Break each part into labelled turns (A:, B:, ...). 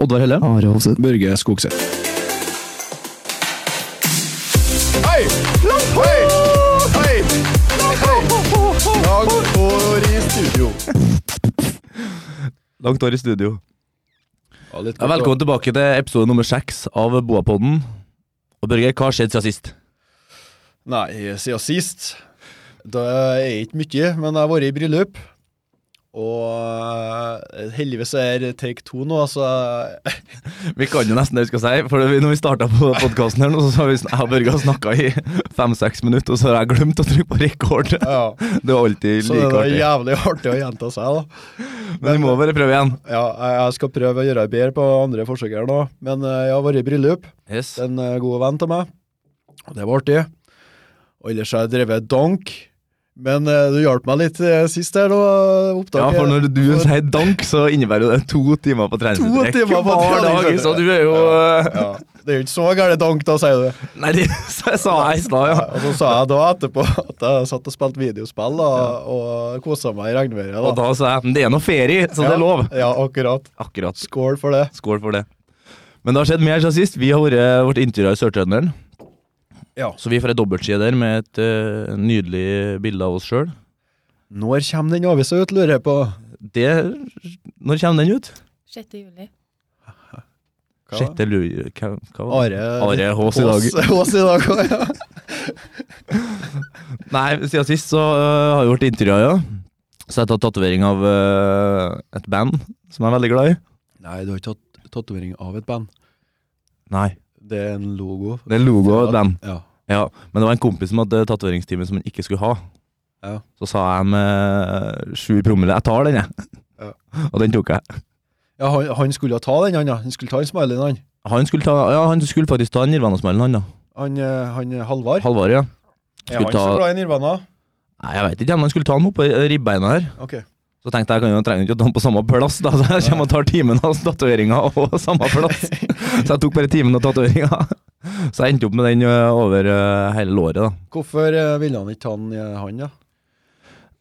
A: Oddvar Helle.
B: Are Hovseth.
C: Børge Skogseth.
D: Hei! Hei! Hei! Dag går i studio.
A: Langt år i studio.
C: Ja, litt
A: Ja, velkommen tilbake til episode nummer seks av Boapodden. Og Børge, hva har skjedd siden sist?
D: Nei, siden sist Det er ikke mye, men jeg har vært i bryllup. Og eh, heldigvis er det take two nå, så jeg-
A: Vi kan jo nesten det vi skal si, for vi- når vi starta på podkasten her nå, så har vi, sn- jeg og Børge snakka i fem-seks minutter, og så har jeg glemt å trykke på rekord. Det
D: ja.
A: er alltid
D: Så det
A: like
D: er
A: artig.
D: jævlig artig å gjenta seg, da.
A: Men vi må bare prøve igjen.
D: Ja, jeg- jeg skal prøve å gjøre bedre på andre forsøk her nå, men eh, jeg har vært i bryllup.
A: Yes.
D: en eh, god venn til meg. Og det var artig. Og ellers har jeg drevet dank. Men eh, du hjalp meg litt eh, sist her, da. eh,
A: Ja,
D: Opptaket.
A: for når du
D: For-
A: sier dank, så innebærer jo det to timer på treningsstrekk
D: timer på
A: hver dag,
D: treningsstrekk.
A: så du er jo eh,
D: ja, Det er jo ikke så gæren dank, da, sier du.
A: Nei, det så jeg sa jeg i stad, ja.
D: Og så sa jeg da etterpå at jeg satt og spilte videospill da, og kosa meg i regnværet.
A: Og da sa jeg men det er nå ferie, så det er lov.
D: Ja, ja, akkurat.
A: Akkurat.
D: Skål for det.
A: Skål for det. Men det har skjedd mer siden sist. Vi har vært vårt intervjua i Sør-Trønderen.
D: Ja.
A: Så vi får ei dobbeltside der med et eh, nydelig bilde av oss sjøl.
D: Når kommer den avisa ut, lurer jeg på.
A: Det Når kommer den ut?
E: 6. juli.
D: Hva?
A: Sjette lu... Hva, hva var det?
D: Are
A: Are Hås i dag.
D: Hås- Hås i dag, ja.
A: Nei, siden sist så eh, har vi vært intervjua, ja. Så jeg har tatt tatovering av eh, et band som jeg er veldig glad i.
D: Nei, du har ikke tatt tatovering av et band.
A: Nei,
D: Det er en logo.
A: det er logo av et band.
D: Ja.
A: Ja, men det var en kompis som hadde tatoveringstime som han ikke skulle ha.
D: Ja.
A: Så sa jeg med eh, sju promille 'jeg tar den, jeg'.
D: Ja.
A: Og den tok jeg.
D: Ja, han, han skulle ta den, han, ja. Han skulle ta en smiley, han.
A: Han skulle, ta, ja, han skulle faktisk ta Nirvana-smellen, han da.
D: Han, eh, han eh, Halvard.
A: Halvard, ja.
D: er han
A: skulle ta-
D: så glad i Nirvana?
A: Nei, jeg veit ikke, men han skulle ta den oppå ribbeina her.
D: Ok.
A: Så tenkte jeg, jeg kan jo jeg trenger jo ikke å ta den på samme plass, da, så jeg kommer og tar timen av tatoveringa og samme plass. Så jeg tok bare timen av tatoveringa. Så jeg endte opp med den ø, over ø, hele låret, da.
D: Hvorfor eh, ville han ikke ta den, eh, han, ja?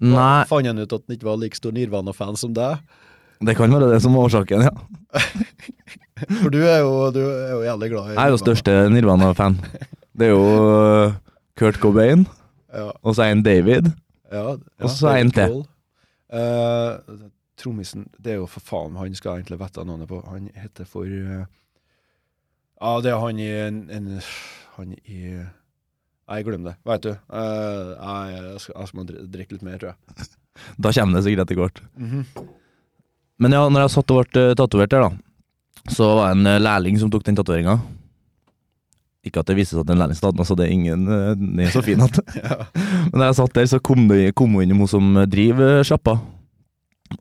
A: Nei,
D: Fant han ut at han ikke var like stor Nirvana-fan som deg?
A: det kan være det som er årsaken, ja.
D: For du er jo, du er jo jævlig glad
A: Jeg er
D: i
A: jo
D: Nirvana.
A: største Nirvana-fan. Det er jo ø, Kurt Cobain,
D: Ja,
A: og så er en David.
D: ja, ja,
A: Og så er
D: David
A: en til.
D: Cole. Eh, Trommisen, det er jo for faen han skal egentlig vette navnet på. Han heter for eh, Ja, det er han i en, en Han i Nei, glem det. Veit du. Eh, nei, jeg skal, jeg skal må dri- drikke litt mer, tror jeg.
A: Da kommer det sikkert etter hvert. Men ja, når jeg satt og ble ø, tatovert der, da, så var det en ø, lærling som tok den tatoveringa. Ikke at det viste seg at det er en lærling som hadde den, altså det er ingen ø, Den er så fin at Men da jeg satt der, så kom, det, kom hun innom hun som driver eh, sjappa.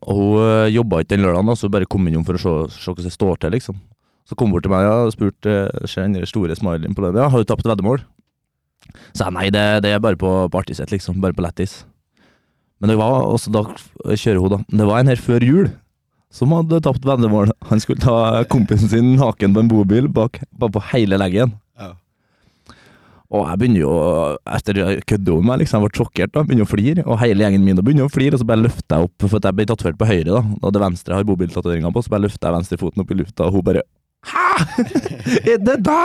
A: Og hun eh, jobba ikke den lørdagen, da, så hun bare kom innom for å se, se hvordan det står til, liksom. Så kom hun bort til meg ja, og spurte eh, ser den der store smileyen på den. Ja, har du tapt veddemål? Så jeg nei, det, det er bare på, på artig sett, liksom. Bare på lættis. Men det var også da kjører hun, da. Men Det var en her før jul som hadde tapt veddemål. Han skulle ta kompisen sin naken på en bobil bak, bare på hele leggen.
D: Ja.
A: Og jeg begynner jo, etter jeg kødde over meg, liksom, jeg ble sjokkert da, begynner å flire, og hele gjengen min da begynner å flire, og så bare løfter jeg opp, for at jeg ble tatovert på høyre da, og det venstre har bobiltatoveringa på, så bare løfter jeg venstrefoten opp i lufta, og hun bare, hæ? Er det da?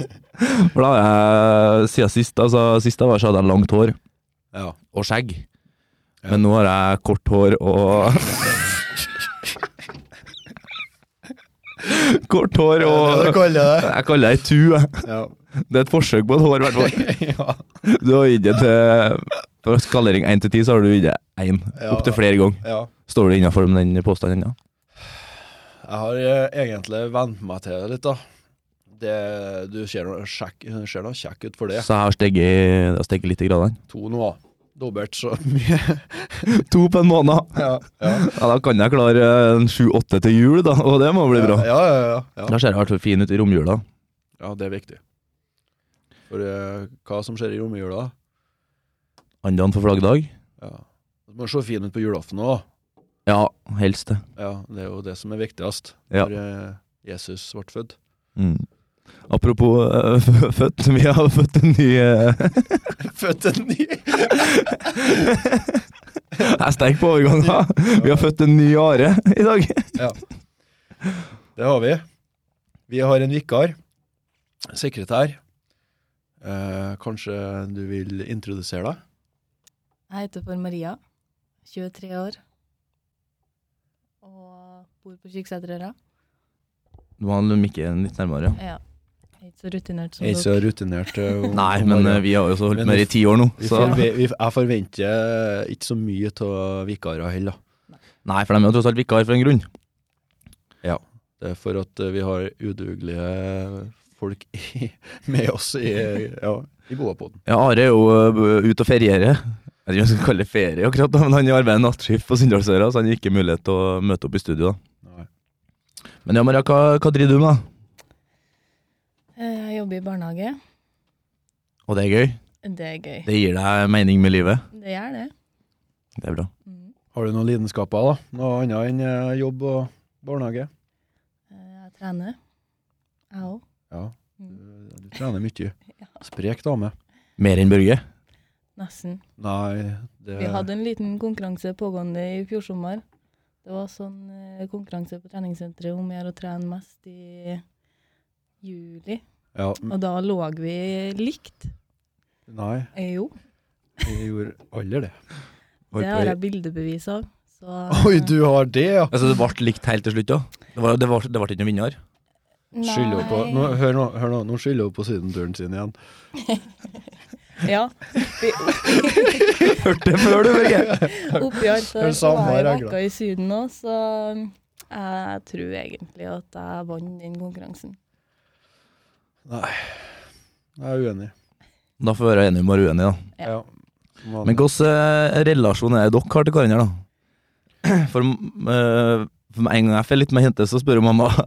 A: For da har jeg, siden sist, altså, sist jeg var, så hadde jeg langt hår,
D: Ja.
A: og skjegg. Men nå har jeg kort hår og Kort hår
D: Det er det du
A: og
D: kaller det.
A: Jeg kaller det ei tu. jeg.
D: Ja.
A: Det er et forsøk på et hår, i hvert fall.
D: ja.
A: Du har gitt det til På skalering 1 til 10 så har du gitt det 1
D: Ja.
A: Opp til flere ganger
D: ja.
A: Står du innenfor med den påstanden ennå?
D: Jeg har eh, egentlig vent meg til det litt, da. Det, du ser nå sjekk, ser nå kjekk ut for det.
A: Så jeg har steget, det har steget litt i gradene
D: To nå, da. Dobbelt så mye.
A: To på en måned
D: ja, ja.
A: Ja, da kan jeg klare eh, en 7-8 til jul da Og det må bli bra
D: Ja, ja, ja, ja.
A: Da ser jeg i hvert fall fin ut i romjula
D: ja, det er viktig. For eh, hva som skjer i romjula
A: Andan for flaggdag
D: ja. Du må se fin ut på julaften òg.
A: Ja, helst det
D: Ja, det er jo det som er viktigst.
A: Ja.
D: For eh, Jesus ble født.
A: mm. Apropos eh, f- født Vi har født en ny eh,
D: Født en ny
A: Jeg er sterk på overgang da Vi har født en ny are i dag
D: Det har vi. Vi har en vikar. Sekretær. Eh, kanskje du vil introdusere deg?
B: Jeg heter for Maria, 23 år, og bor på Kyrksæterøra.
A: Du må ha mikken litt nærmere. ja.
B: Ja. Jeg er ikke så rutinert som
D: Jeg er ikke
B: dere.
D: så rutinert. eh, om-
A: Nei,
D: om
A: men
D: morgenen.
A: eh, vi har jo så holdt
D: Men
A: med det i ti år nå,
D: Vi
A: så
D: forve- vi, jeg forventer ikke så mye av vikarer heller.
A: Nei, for de er jo tross alt vikar for en grunn.
D: Det er for at eh, vi har udugelige folk i, med oss i, ja, i Boapoden.
A: Ja, Are er jo eh, ute og feriere. Jeg vet ikke om jeg skal kalle det ferie akkurat, da, men han arbeider nattskift på Sunndalsøra, så han har ikke mulighet til å møte opp i studio. da.
D: Nei.
A: Men ja, Maria, hva, hva driver du med? da?
B: Eh, Jeg jobber i barnehage.
A: Og det er gøy?
B: Det er gøy.
A: Det gir deg mening med livet?
B: Det gjør det.
A: Det er bra.
B: Mm.
D: Har du noen lidenskaper, da? Noe annet enn eh, jobb og barnehage?
B: Eh, Jeg trener. Jeg òg.
D: Ja, du,
B: Mm.
D: Eh, du trener mye. Sprek dame.
A: Mer enn Børge?
B: Nesten.
D: Nei, det
B: Vi hadde en liten konkurranse pågående i fjor sommer. Det var sånn eh, konkurranse på treningssenteret om å gjøre å trene mest i juli.
D: ja, m-
B: Og da lå vi likt.
D: Nei,
B: Eh, jo,
D: jeg gjorde aldri det.
A: Oi,
B: det har
A: oi.
B: jeg bildebevis av. Så,
D: Oi, du har det, ja!
A: Altså, det ble likt helt til slutt, da? Det var- det var- det ble ikke noen vinner?
D: Skylder hun på nå, Hør nå, hør nå, nå skylder hun på sydenturen sin igjen.
B: Ja.
A: Hørte det før, du, Børge!
B: Oppi alt
D: er
B: så,
D: det
B: så
D: samme
B: var jeg
D: her,
B: vekka i Syden òg, så um, jeg tror egentlig at jeg vant den konkurransen.
D: Nei, jeg er uenig.
A: Da får vi være enige om å være uenige, da.
B: Ja.
D: Ja. Man-
A: Men hvilken eh, relasjon er det dere har til hverandre, da? For, eh, for med en gang jeg får litt med jente, så spør jo mamma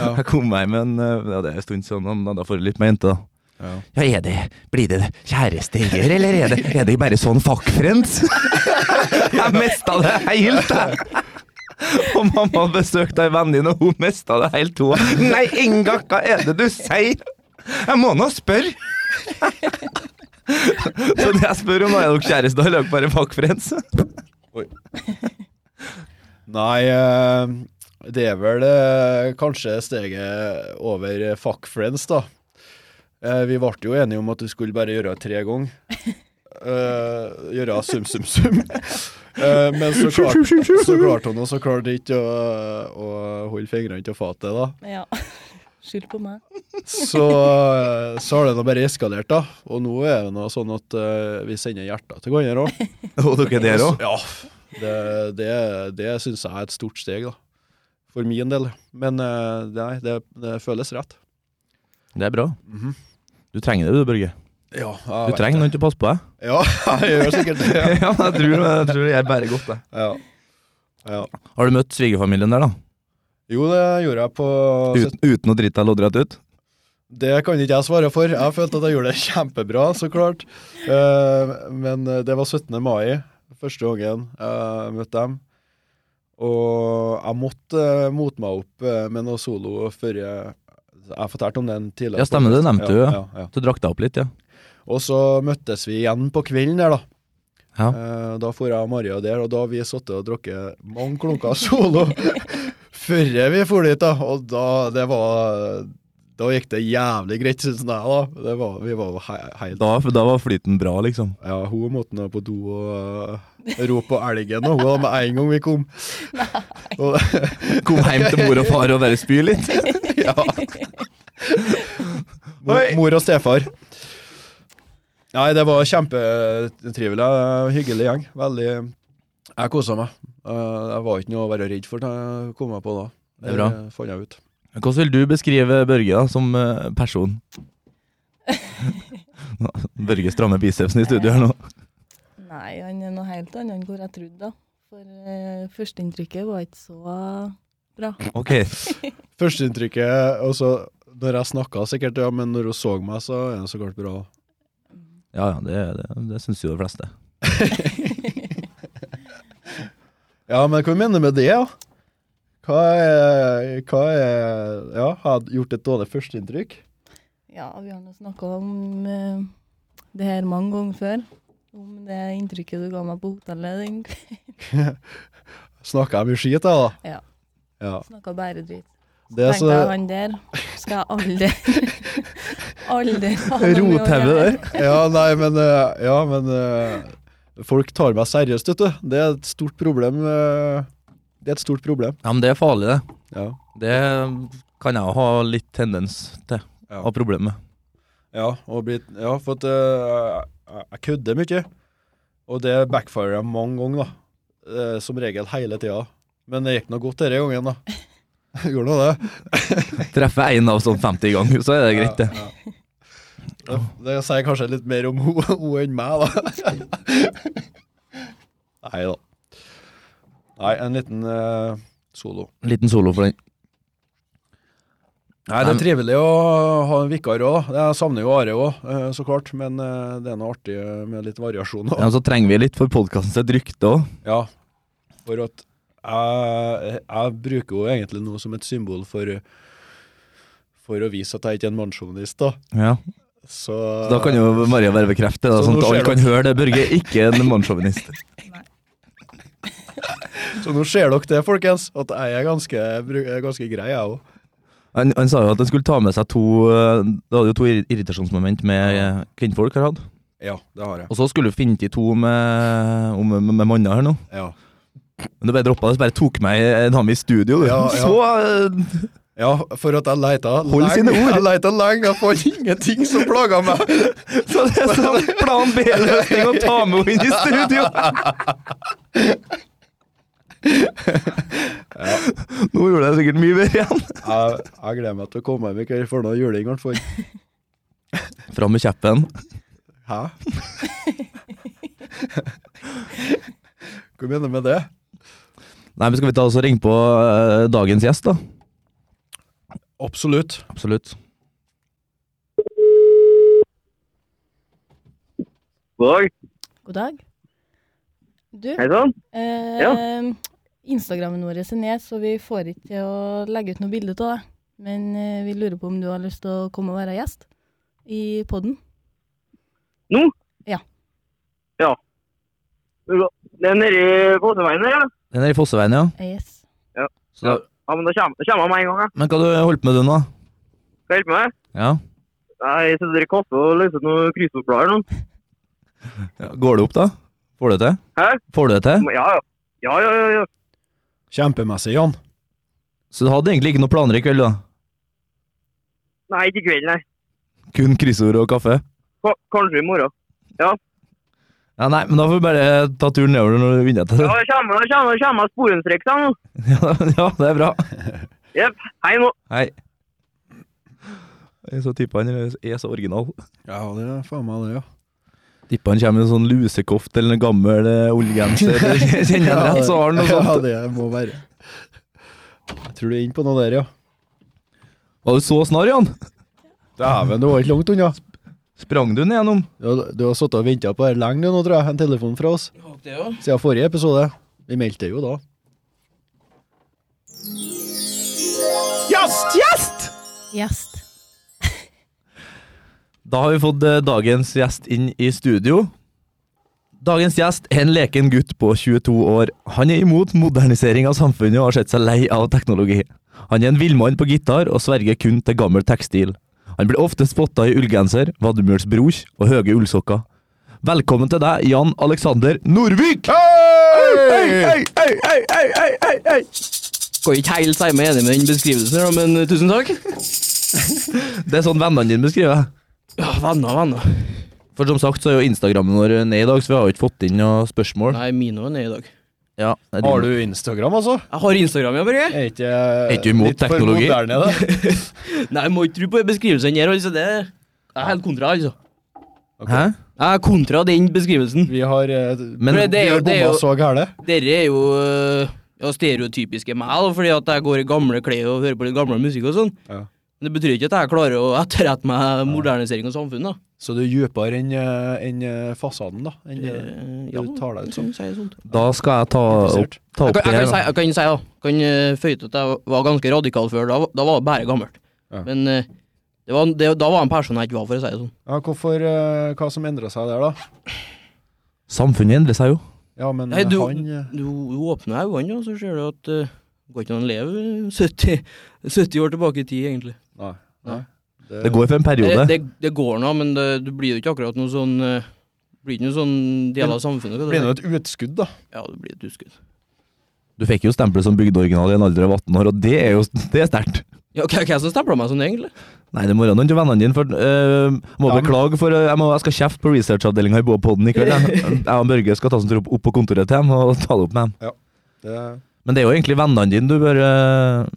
D: Ja.
A: Jeg kom meg med en eh, ja, Det er en stund siden, men da får jeg litt med jente, da.
D: Ja.
A: Ja, er det Blir det kjærester, eller er det, er det bare sånn fuck friends? Jeg mista det helt, jeg. Og mamma besøkte ei venninne, og hun mista det helt, hun. Nei, Inga, hva er det du sier? Jeg må nå spørre. Så det jeg spør om, da er dere kjærester, eller er dere bare fuck friends?
D: Nei, eh, det er vel eh, kanskje steget over eh, fuck friends, da. Eh, Vi ble jo enige om at du skulle bare gjøre det tre ganger. Eh, gjøre sum, sum, sum. Eh, men så klarte så klart hun og så klarte ikke å, å holde fingrene til fatet, da.
B: ja. Skyld på meg.
D: Så, eh, så har det nå bare eskalert, da. Og nå er det nå sånn at eh, vi sender hjerter til hverandre òg.
A: Og dere der òg?
D: Ja, det, det, det syns jeg er et stort steg, da. For min del. Men eh, nei, det, det føles rett.
A: Det er bra. Du trenger det, du, Børge.
D: Ja,
A: Du trenger noen til å passe på deg.
D: Ja, jeg gjør sikkert det.
A: Ja, jeg tror, jeg tror jeg bærer godt, jeg.
D: Ja. Ja.
A: Har du møtt svigerfamilien der, da?
D: Jo, det gjorde jeg på
A: Ut, uten å drite deg loddrett ut?
D: Det kan ikke jeg svare for. Jeg følte at jeg gjorde det kjempebra, så klart. Eh, men eh, det var 17. mai, første gangen jeg møtte dem. Og jeg måtte eh, mote meg opp eh, med noe solo før jeg Jeg fortalte om den tidligere.
A: Ja, stemmer det, nevnte du, ja.
D: ja, ja.
A: Du drakk deg opp litt, ja.
D: Og så møttes vi igjen på kvelden der, da.
A: Ja.
D: Eh, Da for jeg og Maria der, og da har vi sittet og drukket mange klunker solo før vi for dit, da. Og da det var Da gikk det jævlig greit, syns jeg, da. Det var, vi var jo he- helt
A: Da, da var flyten bra, liksom.
D: Ja, hun måtte nå på do og eh, rope på elgen, og hun var med en gang vi kom. Og,
A: Kom hjem til mor og far og bare spy litt.
D: ja. mor,
A: Oi.
D: mor og stefar. Nei, det var kjempetrivelig. eh, Hyggelig gjeng. Veldig Jeg kosa meg. Eh, Jeg var ikke noe å være redd for, det kom jeg på da.
A: Det er bra.
D: Det fant jeg ut.
A: Hvordan vil du beskrive Børge da, som eh, person? Børge strammer bicepsen i studio her nå.
B: Nei, han er noe helt annet enn hvor jeg trodde, da. For eh, førsteinntrykket var ikke så bra.
A: Ok,
D: Førsteinntrykket og så når jeg snakka, sikkert, ja, men når hun så meg, så er det så klart bra.
A: ja ja, det, det, det syns jo de fleste.
D: Ja, men hva mener du med det, da? Hva er, hva er Ja, har jeg gjort et dårlig førsteinntrykk?
B: Ja, vi har nå snakka om eh, det her mange ganger før. Om det inntrykket du ga meg på hotellet den kvelden.
D: Snakka jeg mye skit, jeg, da?
B: Ja.
D: Ja.
B: Snakka bare dritt.
D: Det er
B: Tenkte jeg
D: så,
B: han der skal jeg aldri Aldri ha noe med å
A: Rothauge
B: gjøre.
A: der.
D: Ja, nei, men, eh, ja, men eh, Folk tar meg seriøst, vet du. Det er et stort problem. eh, Det er et stort problem.
A: Ja, men det er farlig, det.
D: Ja.
A: Det kan jeg jo ha litt tendens til
D: Ja.
A: å ha problemer med.
D: Ja, og blitt, ja for at eh, jeg- jeg kødder mye. Og det backfirer jeg mange ganger, da. Eh, som regel hele tida. Men det gikk nå godt denne gangen, da. Gjorde nå det.
A: Treffer én av sånn 50 ganger, så er det greit, det.
D: Ja, ja. Det, det sier kanskje litt mer om henne enn meg, da. Nei da. Nei, en liten eh, solo.
A: En liten solo for den.
D: Nei, Det er trivelig å ha en vikar òg, da. Jeg savner jo Are òg, eh, så klart. Men eh, det er noe artig med litt variasjon. Da.
A: Ja, så trenger vi litt for podkasten sitt rykte òg.
D: Ja, for at jeg, jeg bruker jo egentlig noe som et symbol for for å vise at jeg ikke er en mannssjåvinist, da.
A: Ja.
D: Så,
A: Så da kan jo Maria bare bekrefte det,
D: Så
A: sånn
D: nå
A: at alle
D: ser
A: kan høre det. Børge er ikke en mannssjåvinist.
D: så nå ser dere det, folkens, at jeg er ganske, bru- er ganske grei, jeg òg.
A: Han, han sa jo at han skulle ta med seg to eh, Det hadde jo to irri- irritasjonsmoment med eh, kvinnfolk har hatt.
D: Ja, det har jeg.
A: Og så skulle du finne til to med, om- med, med manner her nå.
D: Ja,
A: Men du bare droppa det, så bare tok meg en ham i studio, du.
D: Ja, ja.
A: Så eh,
D: ja for at jeg leita
A: Hold
D: lenge-
A: sine ord.
D: Jeg leita lenge, jeg fant ingenting som plaga meg.
A: Så det er sånn plan B-løsning å ta med henne inn i studio! Nå gjorde jeg sikkert mye bedre igjen.
D: Jeg, jeg gleder meg til å komme hjem i kveld for noe juling, i hvert fall.
A: Fram med kjeppen.
D: Hæ? Hva mener du med det?
A: Nei, men Skal vi ta oss og ringe på eh, dagens gjest, da?
D: Absolutt.
A: Absolutt.
E: God dag.
B: God dag. Du,
E: Hei sann.
B: eh, Instagrammen vår er ned, så vi får ikke til å legge ut noe bilde av deg. Men eh, vi lurer på om du har lyst til å komme og være gjest i podden.
E: Nå?
B: Ja.
E: Ja. Det er bra. Det er nedi Bodøveien her, ja.
A: Den er i Fosseveien, ja.
B: Eh, Yes.
A: Så,
E: Ja, men da kommer da kommer jeg med en gang, jeg.
A: men hva du holdt på med du nå?
E: Skal jeg hjelpe meg?
A: Ja.
E: Nei, Jeg sitter i kassa og løser noen kryssordsblader nå.
A: Ja, Går det opp, da? Får du det til?
E: Hæ?
A: Får du det til?
E: Men Ja, ja. Ja, ja, ja. ja.
D: Kjempemessig, Jan.
A: Så du hadde egentlig ikke noen planer i kveld, da?
E: Nei, ikke i kveld, nei.
A: Kun kryssord og kaffe?
E: Ka kanskje i morgen.
A: Ja, Nei, men da får vi bare ta turen nedover når du vinner etter
E: Ja,
A: det.
E: da kommer da kommer- da kommer jeg sporenstreks da nå.
A: Ja, ja, det er bra.
E: Hei nå.
A: Hei. Jeg så tippa han er så original.
D: Ja, det er faen meg det, ja.
A: Tippa han kommer med en sånn lusekoft eller en gammel eh, ullgenser. Kjenner han rett, så har han noe
D: Ja,
A: sånt.
D: det må være. Jeg tror du er inne på noe der, ja.
A: Var du så snar, Jan?
D: Dæven, du var ikke langt unna.
A: Sprang du ned gjennom?
D: Du, du har sittet og venta på det her lenge nå, tror jeg. En telefon fra oss. Siden forrige episode. Vi meldte jo da.
A: Gjest! Gjest!
B: Gjest.
A: Da har vi fått eh, dagens gjest inn i studio. Dagens gjest er en leken gutt på 22 år. Han er imot modernisering av samfunnet og har sett seg lei av teknologi. Han er en villmann på gitar og sverger kun til gammel tekstil. Han blir ofte spotta i ullgenser, vadmelsbrosj og høye ullsokker. Velkommen til deg, Jan Alexander Norvik!
D: Hei!
A: hei, hei, hei, hei, hei, hei.
F: Går ikke helt si meg enig med den beskrivelsen, her, men eh, tusen takk.
A: Det er sånn vennene dine beskriver.
F: Ja, venner, venner.
A: For som sagt så er jo Instagrammen vår ned i dag, så vi har jo ikke fått inn noe spørsmål.
F: Nei, Mino er nede i dag.
A: Ja, det er din-
D: Har du Instagram, altså?
F: Jeg har Instagram, ja, Børge.
D: Er ikke,
A: ikke du imot
D: litt for
A: teknologi?
D: moderne, da?
F: Nei, jeg må ikke tro på beskrivelsen her, altså. Det er jeg er helt kontra, altså.
A: Hæ?
F: Jeg er kontra den beskrivelsen.
D: Vi har eh,
A: Men
F: det er jo-
D: Bjørn
F: det er
D: Bomma
F: jo-
D: så gæle.
F: Dere er jo eh, ja, stereotypiske meg, da, fordi at jeg går i gamle klær og hører på litt gammel musikk og sånn.
D: Ja.
F: Men det betyr ikke at jeg klarer å etterrette meg modernisering av samfunnet, da.
D: Så du er dypere enn eh, enn, eh, fasaden, da? Enn, eh,
F: Eh,
D: du tar deg ut sånn.
F: jeg sier sånt.
A: Da skal jeg ta opp,
D: Interessert.
A: ta
F: Jeg
A: opp
F: kan,
A: det
F: jeg, kan
A: her.
F: si,
A: da.
F: jeg kan si da, kan eh, føye til at jeg var ganske radikal før. Da, da var det bare gammelt.
D: Ja.
F: Men eh, det var, det, da var jeg en person jeg ikke var, for å si det sånn.
D: ja, hvorfor, eh, hva som endra seg der, da?
A: Samfunnet endrer seg jo.
D: Ja, men
F: Nei,
D: eh,
F: du-
D: han eh,
F: Du, du åpner øynene, og så ser du at eh, det går ikke an å leve 70, 70 år tilbake i tid, egentlig.
D: Nei.
A: Det går for en periode.
F: Det, det, det går nå, men det, du blir jo ikke akkurat noen sånn eh, Blir ikke noen sånn del av samfunnet.
D: blir nå et utskudd, da.
F: Ja, du blir et uskudd.
A: Du fikk jo stempelet som bygdeoriginal i en alder av 18 år, og det er jo det er sterkt.
F: Ja, hva- Hvem som stempla meg sånn, egentlig?
A: Nei, det må være noen til vennene dine, for øh, må
D: Ja, men-
A: beklage, for øh, jeg, må, jeg skal kjefte på researchavdelinga i Båpodden i kveld. Jeg, jeg og Børge skal ta oss en tur opp, opp på kontoret til dem og ta det opp med dem.
D: Det,
A: Men det er jo egentlig vennene dine du bør øh,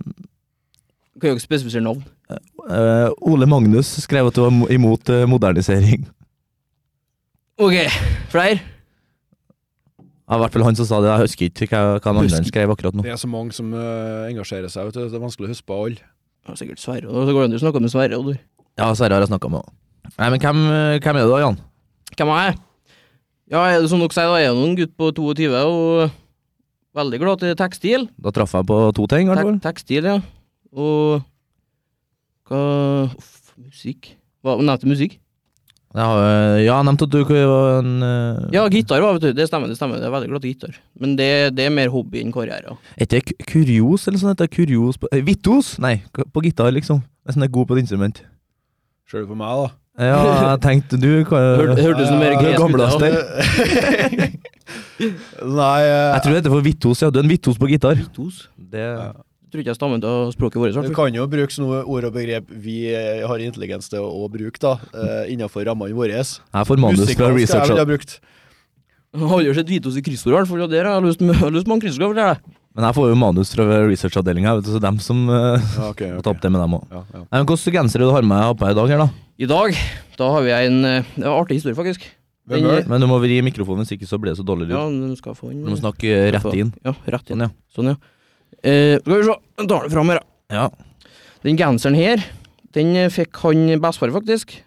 F: Kan jo ikke spesifisere navn.
A: øh, Ole Magnus skrev at du var mo- imot øh, modernisering.
F: Ok, flere?
A: Ja, I hvert fall han som sa det. Jeg husker ikke hva, hva han
F: Husker-
A: andre skrev akkurat nå.
D: det er så mange som eh, engasjerer seg, vet du. Det er vanskelig å huske på alle.
F: Ja, sikkert Sverre. Og så går det an å snakke med Sverre. og du.
A: Ja, Sverre har jeg snakka med òg. Nei, men hvem, øh, hvem er du da, Jan?
F: Hvem er jeg? Ja, er det som dere sier, da er jeg nå en gutt på 22 og eh, veldig glad til tekstil.
A: Da traff jeg på to ting, i hvert fall.
F: Tek tekstil, ja. Og hva Uff, musikk. Hva nevnte musikk?
A: Jeg har, øh, Ja, jeg nevnte at du var en øh,
F: Ja, gitar, ja, vet du. Det stemmer, det stemmer. Jeg er veldig glad til gitar. Men det, det er mer hobby enn karriere.
A: Er ikke det ku- kurios eller sånn? heter det? Kurios på, eh, Vitos? Nei, k- på gitar, liksom. Hvis den er god på et instrument.
D: Ser du på meg, da? Eh,
A: Ja, jeg tenkte du
F: Hør,
A: kan
F: hørtes noe
A: Du
D: Ja,
F: mer
A: er
F: gresk ut, ja.
A: gamlaster.
D: Nei eh,
A: Jeg tror det heter for Vitos, ja. Du er en Vitos på gitar.
F: Tos.
A: Det
F: Jeg tror ikke jeg stammer av språket vårt. i hvert
D: Du
F: fall.
D: kan jo bruke sånne ord og begrep vi eh, har intelligens til å å bruke, da, eh, innenfor rammene våre.
A: Jeg får manus fra
D: Musikalsk jeg
A: research.
D: ville
A: da.
D: ha brukt.
F: Jeg har jo sett Vitos i kryssord, i hvert fall. Og der har jeg lyst med- jeg har lyst på en kryssord. det er det.
A: Men jeg får jo manus fra researchavdelinga, vet du, så dem som eh,
D: Ja, ok,
A: må
D: ok.
A: ta opp det med dem òg.
D: Ja, ja.
A: Men hvilken genser er det du har med har på deg i dag, her da?
F: I dag da har vi en eh, det var en artig historie, faktisk.
D: Hvem er det?
A: Men du må vri mikrofonen, hvis ikke så blir det så dårlig
F: Ja,
A: lyd.
F: nå skal jeg få inn
A: Du må snakke eh, rett inn.
F: Ja, rett
A: Sånn,
F: inn.
A: ja.
F: Sånn, ja. Eh, skal vi se. Jeg tar det fram her, da.
A: Ja.
F: Den genseren her, den eh, fikk han bestefar, faktisk.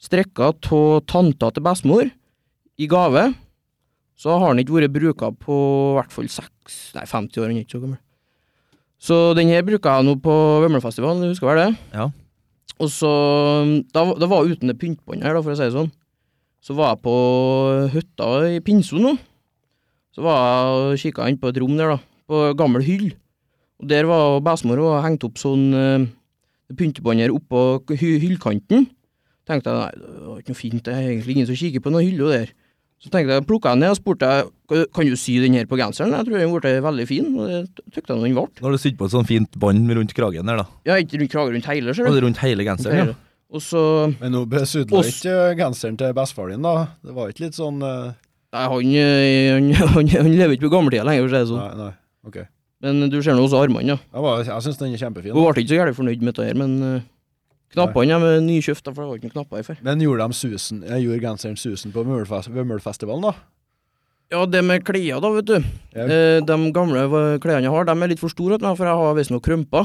F: Strekka av tanta til bestemor i gave. Så har den ikke vært bruka på i hvert fall seks, nei 50 år, den er ikke så gammel. Så den her bruka jeg nå på Vømlefestivalen, du husker vel det?
A: Ja.
F: Og så Da, da var jeg uten det pyntbåndet her, da, for å si det sånn. Så var jeg på hytta i Pinso nå. Så var jeg og kikka inn på et rom der, da. På gammel hyll. Og der var bestemor og hengte opp sånn uh, pyntebånd her oppå hy- hyllkanten. Tenkte jeg, nei, det var ikke noe fint, det er egentlig ingen som kikker på noen hyller der. Så tenkte jeg, plukket jeg den ned og spurte jeg, «Kan- kan du sy den her på genseren? Jeg tror den ble veldig fin, og det tykte jeg nå den ble.
A: Nå har du sydd på et sånt fint bånd rundt kragen der, da.
F: Ja, ikke rundt krager, rundt hele, ser
A: Og
F: du.
A: det rundt hele genseren, ja.
F: Og så,
D: Men nå besudla
F: Oss.
D: ikke genseren til bestefaren din, da? Det var ikke litt sånn eh,
F: nei, han, eh, han, han, han lever ikke på gammeltida lenger, for å si det sånn.
D: Nei, nei. Ok.
F: Men du ser nå også armene, ja.
D: Jeg, var- jeg syns den er kjempefin.
F: Hun ble ikke så gjerne fornøyd med dette her, men eh, knappene er med nykjøft, da, for det var ikke noen knapper her før.
D: Men gjorde de susen Jeg gjorde genseren susen på Mømmelfest- Mømmelfestivalen, da?
F: Ja, det med klær da, vet du.
D: Ja.
F: Eh, de gamle v- klærne jeg har, de er litt for store, til meg, for jeg har visstnok krømpa.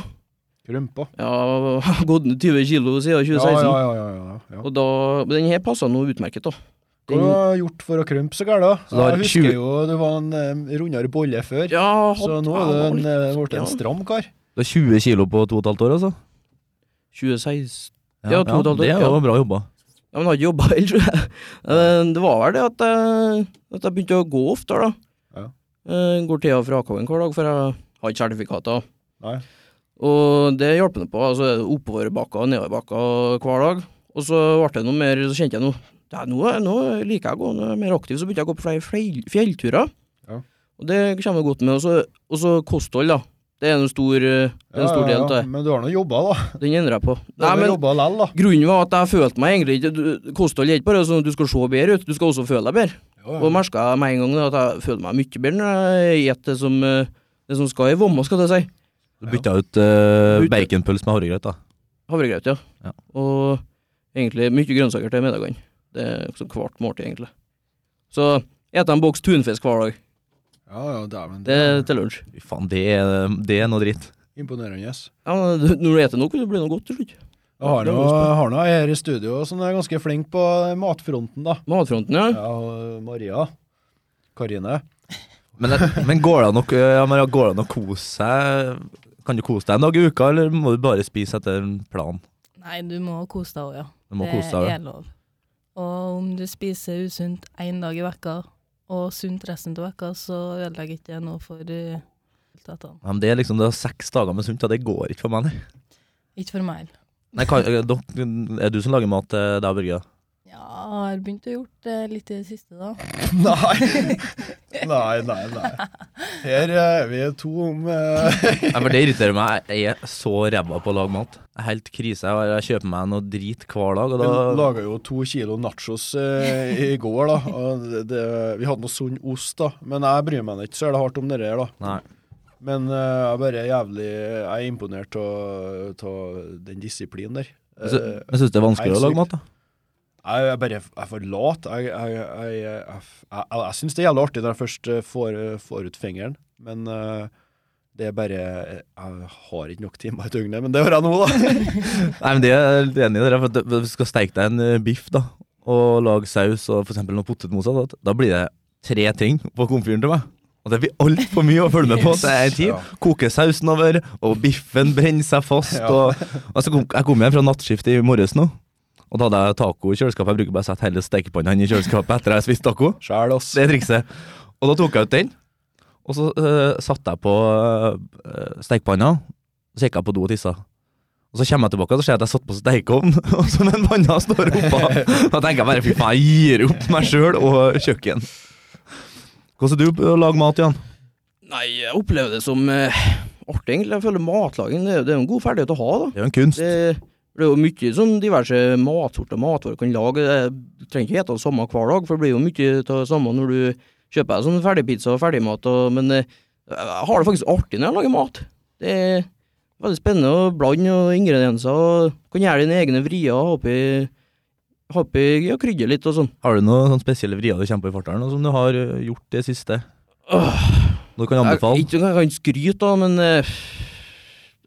D: Krympa.
F: Jeg har gått ned 20 kilo siden 2016.
D: Ja, ja, ja. ja, ja, ja.
F: Og da, men den her passa nå utmerket, da.
D: Hva
F: Den,
D: har du gjort for å krympe så gærent? da?
A: Så du har
D: Jeg husker
A: 20
D: jo du var en eh, rundere bolle før.
F: ja,
D: Så nå er du
F: hadde-
D: en, eh, blitt
F: ja.
D: en stram kar.
A: Du har 20 kilo på to og et halvt år, altså?
F: 2016 Ja, to og et halvt år,
A: Det er
F: ja.
A: jo bra jobba.
F: Ja, men jeg hadde ikke jobba heller, tror jeg. Eh, Det var vel det at jeg, at jeg begynte å gå oftere, da.
D: Ja.
F: Eh, Går til og fra Akhaven hver dag, for jeg har ikke sertifikater.
D: Nei.
F: Og det hjalp nå på. altså Oppoverbakker og nedoverbakker hver dag. Og så ble det noe mer, så kjente jeg noe ja, nå, er- nå liker jeg å gå, nå er jeg mer aktiv, så begynte jeg å gå på flere fjell, fjellturer.
D: Ja.
F: Og det kommer jeg godt med. Og så, og så kosthold, da. Det er en stor, eh, det er en stor del av det.
D: Men du har nå jobba, da.
F: Den endrer jeg på.
D: Du har nå jobba lell, da.
F: Grunnen var at jeg følte meg egentlig ikke du- Kosthold er ikke bare sånn at du skal se bedre ut, du skal også føle deg bedre. Og merka med en gang da, at jeg føler meg mye bedre når jeg spiser det som eh, det som skal i vomma, skal jeg si.
A: Du bytta ut uh,
F: Bytte-
A: baconpølse med havregrøt, da.
F: Havregrøt, ja.
A: Ja.
F: Og egentlig mye grønnsaker til middagene. Det er også hvert måltid, egentlig. Så spiser en boks tunfisk hver dag.
D: Ja, ja, dæven.
F: Det
D: Det
F: er
D: er
F: til lunsj.
A: Fy faen, det er, det er noe dritt.
D: imponerende. yes.
F: Ja, men du- når du spiser nok, det blir noe godt til slutt.
D: Jeg har
F: Det er
D: nå-
F: godt.
D: har nå ei her i studio som er ganske flink på matfronten, da.
F: Matfronten, ja.
D: Ja, og Maria. Karine.
A: Men, men går det an å ja, men går det an å kose seg? Kan du kose deg en dag i uka, eller må du bare spise etter en plan?
B: Nei, du må kose deg òg, ja.
A: Du må kose
B: Det
A: deg.
B: er lov. Og om du spiser usunt én dag i vekka, og sunt resten av vekka, så ødelegger ikke det noe for eh, resultatene.
A: Ja, men det er liksom det er seks dager med sunt, ja, det går ikke for meg, nei.
B: Ikke for meg.
A: Nei, kan, eh, dere- er du som lager mat til deg og Børge? da?
B: Ja, jeg har begynt å gjort det litt i det siste, da.
D: Nei. Nei, nei, nei. Her eh, er vi to om eh,
A: Nei, for Det irriterer meg. Jeg er så ræva på å lage mat. Jeg er Helt krise. Jeg jeg kjøper meg noe drit hver dag. Og
D: Vi
A: da,
D: laga jo to kilo nachos eh, i går, da. Og det, det, vi hadde noe sunn ost, da. Men jeg bryr meg ikke så er det hardt om det der, da.
A: nei.
D: Men eh, jeg er bare jævlig Jeg er imponert av den disiplinen der.
A: Jeg
D: Eh,
A: sy- jeg syns det er vanskelig å lage mat. da
D: Jeg jeg bare jeg er for lat. Jeg, jeg, jeg, jeg, jeg, jeg, jeg syns det er jævlig artig når jeg først eh, får, får ut fingeren, men eh, det er bare eh, Jeg har ikke nok timer i døgnet, men det har jeg nå, da.
A: Nei, men Det er jeg helt enig i. Dere, for at du skal steike deg en eh, biff da og lage saus og for eksempel noe potetmos, da, da blir det tre ting på komfyren til meg. Og det blir altfor mye å følge med på til en tid.
D: Ja.
A: Koker sausen over, og biffen brenner seg fast.
D: Ja.
A: Og, og så kom, jeg kom hjem fra nattskiftet i morges nå, og da hadde jeg taco i kjøleskapet. Jeg bruker bare å sette hele stekepannene i kjøleskapet etter jeg har spist taco.
D: Sjæl, ass.
A: Det er trikset. Og da tok jeg ut den, og så eh, satte jeg på uh, stekepanna, og så gikk jeg på do og tissa. Og så kommer jeg tilbake og så ser jeg at jeg satt på stekeovn, og så den panna står oppå. Da tenker jeg bare fy faen, jeg gir opp meg sjøl og kjøkken. Hvordan er du på å lage mat, Jan?
F: Nei, jeg opplever det som eh, artig, egentlig. Jeg føler matlaging det, er- det er jo en god ferdighet å ha, da.
A: Det er jo en kunst.
F: Det, det er jo mye sånn diverse matsorter matvarer kan lage. Det trenger ikke hete det samme hver dag, for det blir jo mye av det samme når du kjøper deg sånn ferdigpizza og ferdigmat. Og, men eh, jeg har det faktisk artig når jeg lager mat. Det er veldig spennende å blande og ingredienser. Og kan gjøre dine egne vrier og ha oppi, ha oppi ja, krydder litt og sånn.
A: Har du noen sånne spesielle vrier du kjenner på i farten, og som du har eh, gjort det siste?
F: Åh.
A: Du kan anbefale.
F: Jeg, ikke, jeg kan skryte, da, men eh,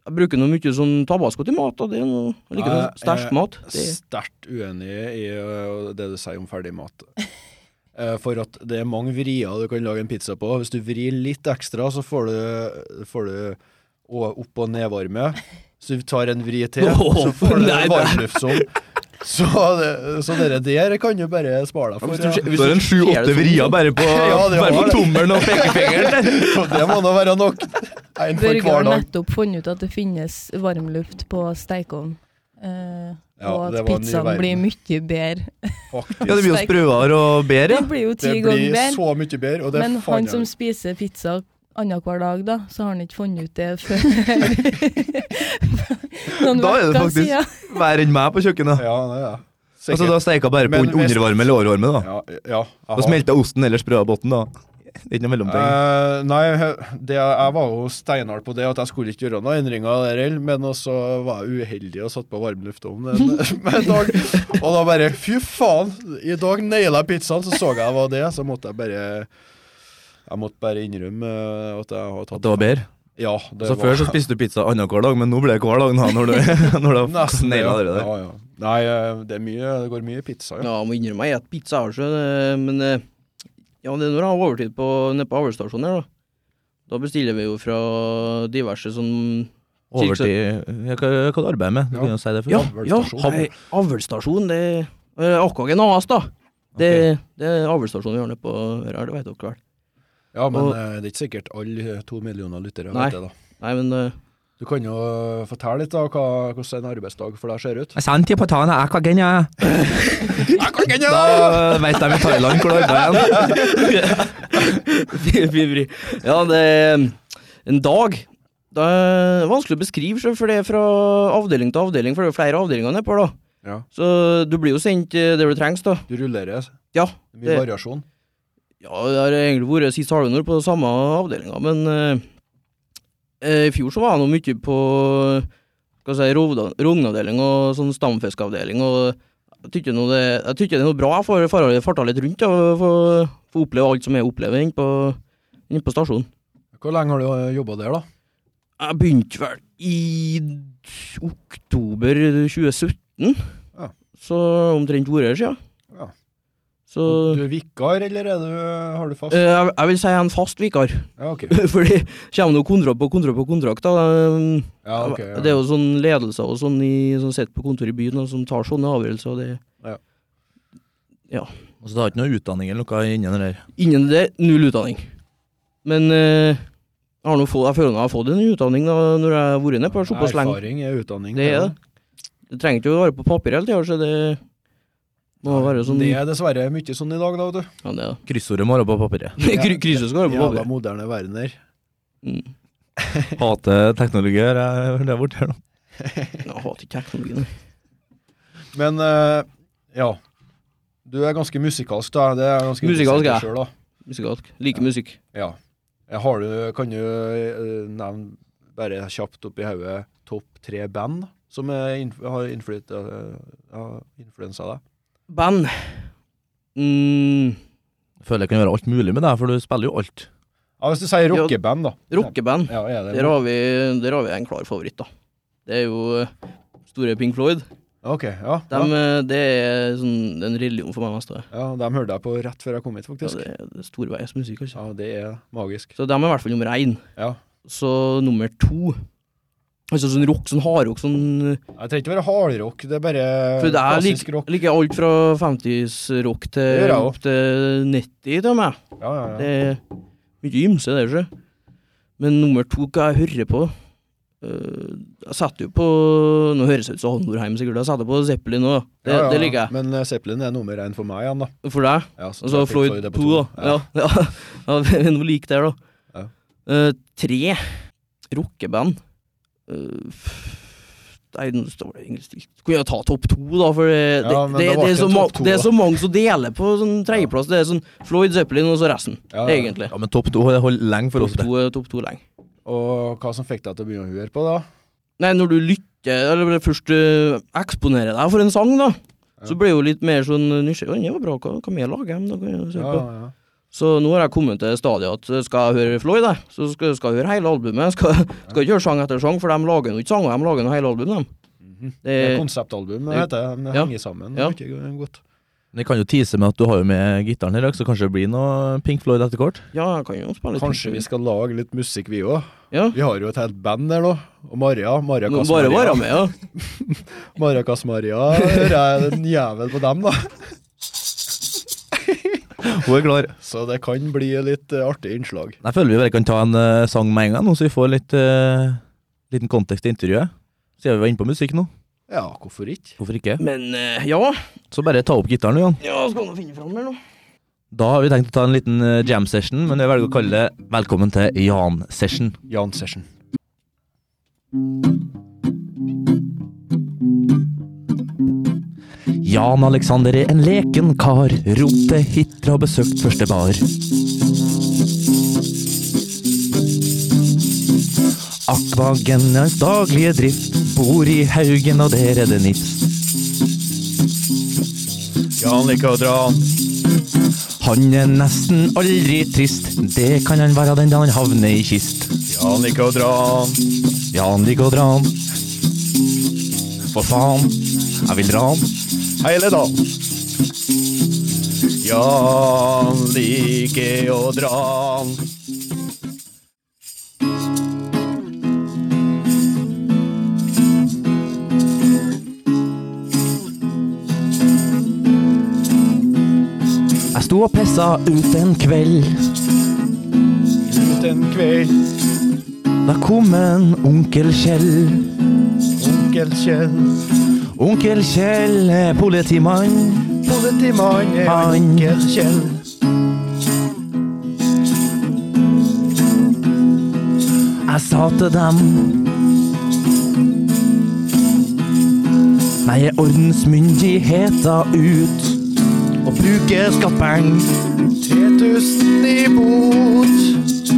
F: jeg bruker noe mye sånn tabasco til mat. Da. Det er noe, jeg liker
D: Nei,
F: noe sterk
D: eh,
F: mat. Det,
D: Sterkt uenig i eh, det du sier om ferdig mat. Eh, For at det er mange vrier du kan lage en pizza på. Hvis du vrir litt ekstra, så får du, får du å- opp- og nedvarme. Hvis du tar en vri til,
F: Åh,
D: så får du
F: nei, nei.
D: varmluftsom. Så, det- så dere der kan du bare spare deg for.
F: hvis du
D: ja.
F: ser- hvis
A: Så er det en
F: du ser det
A: sju-åtte
F: sånn,
A: vrier bare på,
D: Ja, det
A: bare
D: var
A: på
D: det.
A: tommelen og pekefingeren. der.
D: Så det må nå være nok. En for
B: Børge
D: hver
B: har
D: dag.
B: nettopp funnet ut at det finnes varmluft på stekeovn. eh,
D: Ja, det var
B: og at
D: en ny
B: pizzaen blir
D: verden.
B: mye bedre.
D: Faktisk.
A: Ja, det blir jo sprøere og bedre.
B: Det blir jo ti
D: Det
B: ganger
D: blir
B: bedre.
D: så mye bedre, og det
B: Men
D: er faen
B: han
D: jeg-
B: som spiser pizza annenhver dag, da, så har han ikke funnet ut det før noen
A: Da er det
B: uker
A: faktisk-
B: siden.
A: Vær enn meg på kjøkkenet.
D: Ja, det er det.
A: Altså, da steker jeg bare på
D: Men
A: un-
D: hvis-
A: undervarme eller overvarme. Da
D: Ja, ja, jeg
A: Da
D: har-
A: smelter osten eller sprøabotten, da. Det er ikke noe mellomting.
D: Eh, nei, he- det, jeg var jo steinhard på det, at jeg skulle ikke gjøre noen endringer der heller, men også var jeg uheldig og satt på varmluftovnen en, en dag. Og da bare Fy faen! I dag naila jeg pizzaen, så så jeg hva det, så måtte jeg bare jeg måtte bare innrømme eh, at jeg har tatt
A: At det var bedre.
D: Ja, det
A: Så Før så spiste du pizza annenhver dag, men nå blir det hver dag nå, når du, når du har
D: Nesten,
A: naila
D: ja.
A: det der.
D: Ja, ja. Nei, eh, det, er mye, det går mye pizza, ja.
F: Ja, jeg må innrømme jeg spiser pizza her, så det- men eh, ja, det er når jeg har overtid på, nede på avlsstasjonen her, da. Da bestiller vi jo fra diverse sånn
A: Overtid ja, Hva hva du arbeider med? Du
D: Ja.
A: kan jo si det først.
F: Ja, ja,
D: Avlsstasjon.
F: hav- avlsstasjon, det er akkurat en AS, da. Det, det er avlsstasjonen vi har nede på her, det vet dere vel.
D: Ja, men
F: Og-
D: eh, det er ikke sikkert alle eh, to millioner lyttere
F: Nei.
D: vet det, da.
F: Nei, men eh,
D: Du kan jo eh, fortelle litt, da, hva, hvordan en arbeidsdag for deg ser ut.
A: Jeg sendte på tana, jeg kan genne. Da veit de i Thailand hvor du arbeider.
F: Fibri. Ja, det er mm, en dag. Det er vanskelig å beskrive, sjø, for det er fra avdeling til avdeling, for det er jo flere avdelinger nedpå, da.
D: Ja.
F: Så du blir jo sendt eh, der du trengs, da.
D: Du rullerer.
F: Ja.
D: Det er
F: Det-
D: Mye variasjon.
F: Ja, det har egentlig vært sist halvår på samme avdelinga, men eh, eh, i fjor så var jeg nå mye på hva skal jeg si, rovda- rognavdeling og sånn stamfiskeavdeling, og jeg tykker nå det, jeg tykker det er noe bra jeg får fara- farta litt rundt ja, og få få oppleve alt som jeg opplever inne på, inne på stasjonen.
D: Hvor lenge har du jobba der, da?
F: Jeg begynte vel i oktober 2017,
D: Ja.
F: så omtrent fire år siden.
D: Ja.
F: Så
D: Du er vikar, eller er du, har du fast?
F: eh, jeg, jeg vil si jeg er en fast vikar.
D: Ja, ok.
F: Fordi kommer det jo kontrakt på kontrakt på kontrakt, da. Um,
D: Ja, ok, ja.
F: Det er jo sånn ledelser og sånn i, som sitter på kontor i byen og som tar sånne avgjørelser. og Det.
A: Så Altså, du har ikke noe utdanning eller noe innen det der?
F: Innen det, null utdanning. Men eh, jeg, har nå få, jeg føler nå jeg har fått en utdanning da, når jeg har vært nede på såpass lenge.
D: Erfaring er utdanning.
F: Det er det. Det trenger ikke å være på papir hele tida, så det må være sånn
D: Det er dessverre mye sånn i dag, da, vet du.
F: Ja, det er det.
A: Kryssordet må være på papiret.
F: Kry- Krysset skal være på
D: Jævla
F: papir.
D: moderne verden der.
F: Mm.
A: Hater teknologier. Jeg det er borte her nå.
F: Jeg hater ikke teknologien.
D: Men eh, ja. Du er ganske musikalsk, da. Det er ganske interessant
F: Musikalsk, ja.
D: selv, da.
F: Musikalsk. Liker musikk.
D: Ja. Jeg har du, kan du eh, nevne, bare kjapt oppi hodet, topp tre band som er inf har influet- eh, har influensa deg?
F: Band. Mm.
A: Føler jeg kan gjøre alt mulig med deg, for du spiller jo alt.
D: Ja, hvis du sier rockeband, da.
F: Rockeband.
D: Ja, er det
F: Der har, vi, der har vi en klar favoritt, da. Det er jo eh, store Pink Floyd.
D: Ok, ja.
F: Dem, eh, Det er sånn en religion for meg mest. da.
D: Ja, Dem hørte jeg på rett før jeg kom hit,
F: Ja,
D: faktisk.
F: det er det er storveies musikk, altså.
D: Ja, det er magisk.
F: Så dem er i hvert fall nummer én.
D: Ja.
F: Så nummer to Altså sånn rock, sånn hardrock, sånn
D: Jeg trenger ikke være hardrock, det er bare
F: For det er lik,
D: klassisk rock.
F: liker jeg alt fra 50s-rock
D: Det gjør
F: til
D: jeg
F: opp til 90, til og med.
D: Ja, ja,
F: Det
D: ja.
F: er mye ymse, det, sjø. Men nummer to, hva jeg hører på Eh, Jeg setter jo på Nå høres det ut som Norheim, sikkert. Jeg setter på Zeppelin òg. Det,
D: ja, ja.
F: det liker jeg.
D: Men eh, Zeppelin er nummer én for meg igjen, da.
F: For deg.
D: Ja, så
F: Altså
D: Pink
F: Floyd
D: er på
F: 2, da. Ja. Ja, ja. vi er noe lik der, da.
D: Ja.
F: Eh, tre rockeband. Eh, f- Nei, nå står det egentlig stilt. Kunne jeg ta topp to, da? For det, det,
D: Ja, men
F: det,
D: det var
F: det, er,
D: ikke
F: så
D: en
F: ma
D: topp to,
F: det er
D: da.
F: så mange som deler på sånn tredjeplass. Det er sånn Floyd, Zeppelin og så resten,
D: Ja, ja.
F: egentlig.
A: Ja, Men topp to det holder lenge for
F: Topp
A: oss. det.
F: to, er topp to lenge.
D: Og hva som fikk deg til å begynne å høre på, da?
F: Nei, når du lytter, eller først eh, eksponerer deg for en sang, da,
D: Ja.
F: så blir jo litt mer sånn nysgjerrig. «Å, Det var bra, hva, hva mer lager de? Da kan jeg se
D: Ja,
F: på.
D: ja.
F: Så nå har jeg kommet til stadiet at eh, skal jeg høre Floyd, jeg, så skal, skal jeg høre hele albumet. Skal, skal ikke høre sang etter sang, for de lager jo ikke sanger, de lager jo hele album, de.
D: Mhm.
F: Det,
D: Det er konseptalbum, det heter det. Det
F: Eh, Ja.
D: henger sammen.
F: Ja.
D: Det er godt.
A: Men jeg kan jo tease med at du har jo med gitaren i dag, så kanskje det blir noe Pink Floyd etter hvert.
F: ja, jeg kan jo spille litt.
D: Kanskje vi skal lage litt musikk, vi òg.
F: Ja.
D: Vi har jo et helt band der nå. Og Maria. Maria
F: Må Bare
D: Kass-Maria.
F: være med, ja.
D: Maria Kass-Maria. Hører jeg en jævel på dem, da.
A: Hun er klar.
D: Så det kan bli litt eh, artig innslag.
A: Jeg føler vi bare kan ta en eh, sang med en gang, nå, så vi får litt eh, liten kontekst i intervjuet. Siden vi var inne på musikk nå.
D: Ja, hvorfor ikke?
A: Hvorfor ikke?
F: Men eh, ja.
A: Så bare ta opp gitaren, du, Jan.
F: Ja, skal nå finne fram her nå.
A: Da har vi tenkt å ta en liten eh, jam session, men jeg velger å kalle det Velkommen til Jan session.
D: Jan Session.
A: Jan Alexander er en leken kar, rote hitra og besøkt første bar. Akvagen er hans daglige drift, bor i Haugen og der er det nips.
D: Jan liker å dra.
A: Han er nesten aldri trist, det kan han være den dagen han havner i kist.
D: Jan liker å dra.
A: Jan liker å dra han. For faen, jeg vil dra han.
D: Hele dagen. Jan liker å dra.
A: Jeg sto og pissa ut en kveld.
D: Ut en kveld,
A: Da kom en onkel Kjell.
D: onkel Kjell.
A: Onkel Kjell er politimann.
D: Politimann er
A: Han.
D: onkel Kjell.
A: Jeg sa til dem Jeg er ordensmyndigheta ut og bruker skattpenger.
D: 3000 i bot.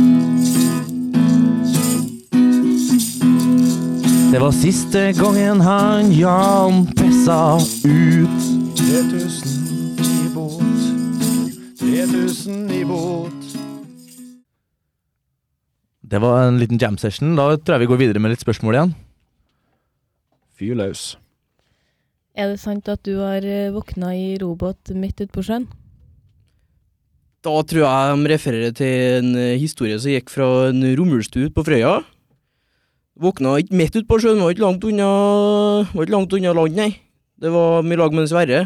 A: Det var siste gangen han Jan pissa ut.
D: 3000 i bot. 3000 i bot.
A: Det var en liten jam session. Da tror jeg vi går videre med litt spørsmål igjen.
D: Fyr løs.
B: Er det sant at du har eh, våkna i robåt midt ute på sjøen?
F: Da tror jeg de refererer til en eh, historie som gikk fra en romulstue ute på Frøya. Våkna ikke midt ute på sjøen, var ikke langt unna, var ikke langt unna land, nei. Det var mye lag med en Sverre.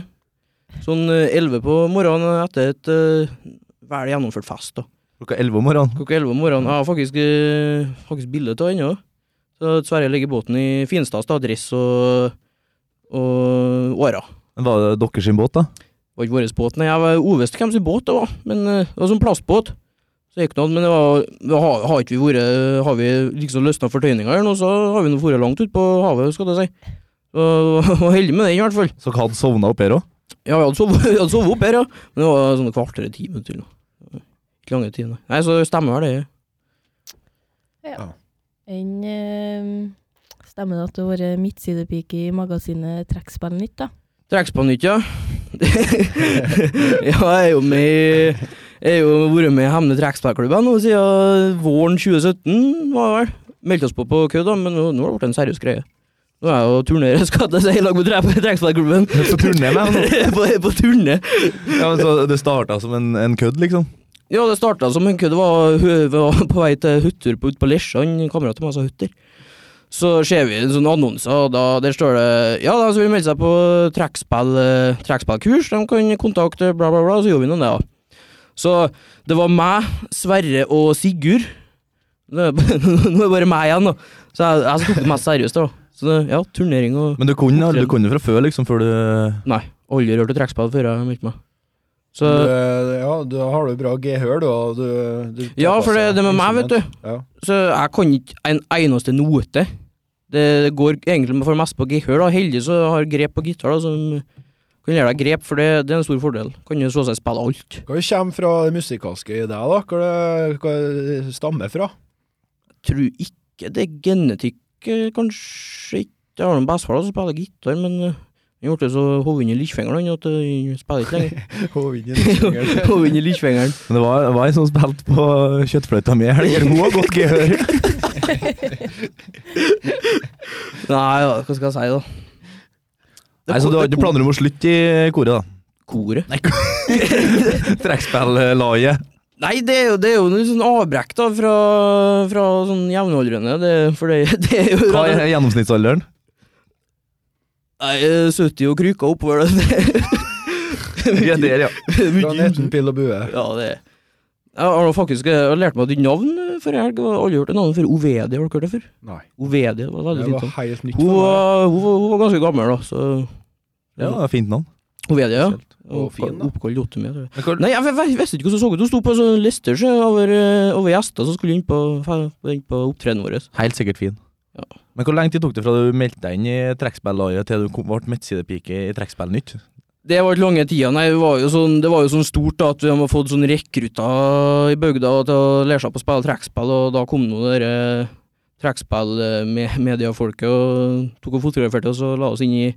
F: Sånn eh, 11 på morgenen etter et eh, vel gjennomført fest. da.
A: Klokka elleve om morgenen.
F: Klokka 11 om morgenen. Jeg har faktisk, eh, faktisk bilde av det ennå. Så at Sverre ligger i båten i finstads da, dress og og åra.
A: Men Var det deres sin båt, da?
F: Det var ikke vår båt, nei. Jeg var uvisst hvem sin båt det var, men eh, det var sånn plastbåt. Så gikk det noe, men det var, det har, har ikke vi vært Har vi liksom løsna fortøyninger eller noe, så har vi nå vært langt ut på havet, skal det si. Så jeg var heldig med den, i hvert fall.
A: Så hadde sovna opp her òg?
F: Ja, vi hadde sovet, vi hadde sovet opp her, ja. Men det var sånn et kvarter eller ti minutter til nå. Ikke lange tiden. nei. Nei, så det stemmer vel det.
B: Enn eh, stemmer det at du har vært midtsidepike i magasinet Trekkspill Nytt, da?
F: Trekkspannhytt, ja. ja, jeg er jo med i- Jeg har jo vært med i Hemne trekkspillklubben nå siden våren 2017, var det vel. Meldte oss på på kødd, da, men nå, nå har det blitt en seriøs greie. Nå er jeg jo turnerer, skal jeg si, i lag med tre- trekkspillklubben.
A: På turné med han.
F: på, på turné.
A: Ja, men så Det starta som en, en kødd, liksom?
F: Ja, det starta som en kødd. Det var, vi var på vei til hytter på, ut på Lesja, en kamerat av meg sa hytter. Så ser vi en sånn annonse, og da, der står det Ja, de som vil melde seg på trekkspill, eh, trekkspillkurs, de kan kontakte bla, bla, bla, så gjorde vi noe med det. da. Så det var meg, Sverre og Sigurd. Nå er det nå er det bare meg igjen, da. Så jeg, jeg tok det mest seriøst, da. Så det, ja, turnering og
A: Men du kunne du kunne fra før, liksom? Før du
F: Nei, aldri rørt et trekkspill før jeg meldte meg. Så
D: Du, eh, ja, du har jo bra gehør, du. og du, du
F: Ja, for det, det med meg, vet du.
D: Ja.
F: Så jeg kan ikke en eneste note. Det går egentlig for det meste på gehør. da. Heldig så har jeg grep på gitar, da, som kan lære deg grep, for det, det er en stor fordel. Kan jo så å si spille alt.
D: Hva kommer fra det musikalske i deg, da? Hva, det, hva det stammer fra?
F: Tror ikke det er genetikk, eh, kanskje ikke. Jeg har en bestefar da som spiller gitar, men eh, han ble så hoven i lillefingeren han, at eh, han spiller ikke lenger. hoven i lillefingeren.
A: Men det var, det var en som spilte på kjøttfløyta mi i helga. Hun har godt gehør.
F: Nei, ja, hva skal jeg si, da? Det
A: Nei, Så du har
F: det
A: ikke planer om å slutte i koret, da?
F: Koret.
A: Trekkspilllaget?
F: Nei, det er jo, det er jo noe sånn avbrekk da fra, fra sånn jevnaldrende. Det, for det, det er jo
A: Hva er gjennomsnittsalderen?
F: Nei, eh, 70 og kryka oppover det.
A: Vi er der, ja.
F: det er mye-
D: Fra 19 pil og bue.
F: ja, det er- Jeg har nå faktisk eh, jeg har lært meg et nytt navn før i helg. Jeg har aldri hørt et navn før Ovedie. Har dere hørt det før?
D: Nei.
F: Ovedie, det var veldig
D: Det var
F: fint. navn.
D: helt nytt
F: Hun,
D: for meg.
F: var- hun, var- hun var ganske gammel, da. Så
A: Ja, det er Fint navn.
F: Ovedie, ja.
D: Og fin, da.
F: Oppkalt etter meg. tror jeg.
A: Men hvor-
F: Nei, jeg, jeg, visste ikke hvordan hun så ut. Hun sto på en sånn liste så, over, eh, over gjester som skulle inn på, inn på opptredenen vår.
A: Helt sikkert fin.
F: Ja.
A: Men hvor lenge tid tok det fra du meldte deg inn i trekkspillaget til du kom- ble midtsidepike i Trekkspill Nytt?
F: Det var ikke lange tida, nei. Det var jo sånn, det var jo sånn stort da, at vi har fått sånn rekrutter i bygda til å lære seg på å spille trekkspill, og da kom nå dere trekkspillmediefolket og tok og fotograferte oss og la oss inn i,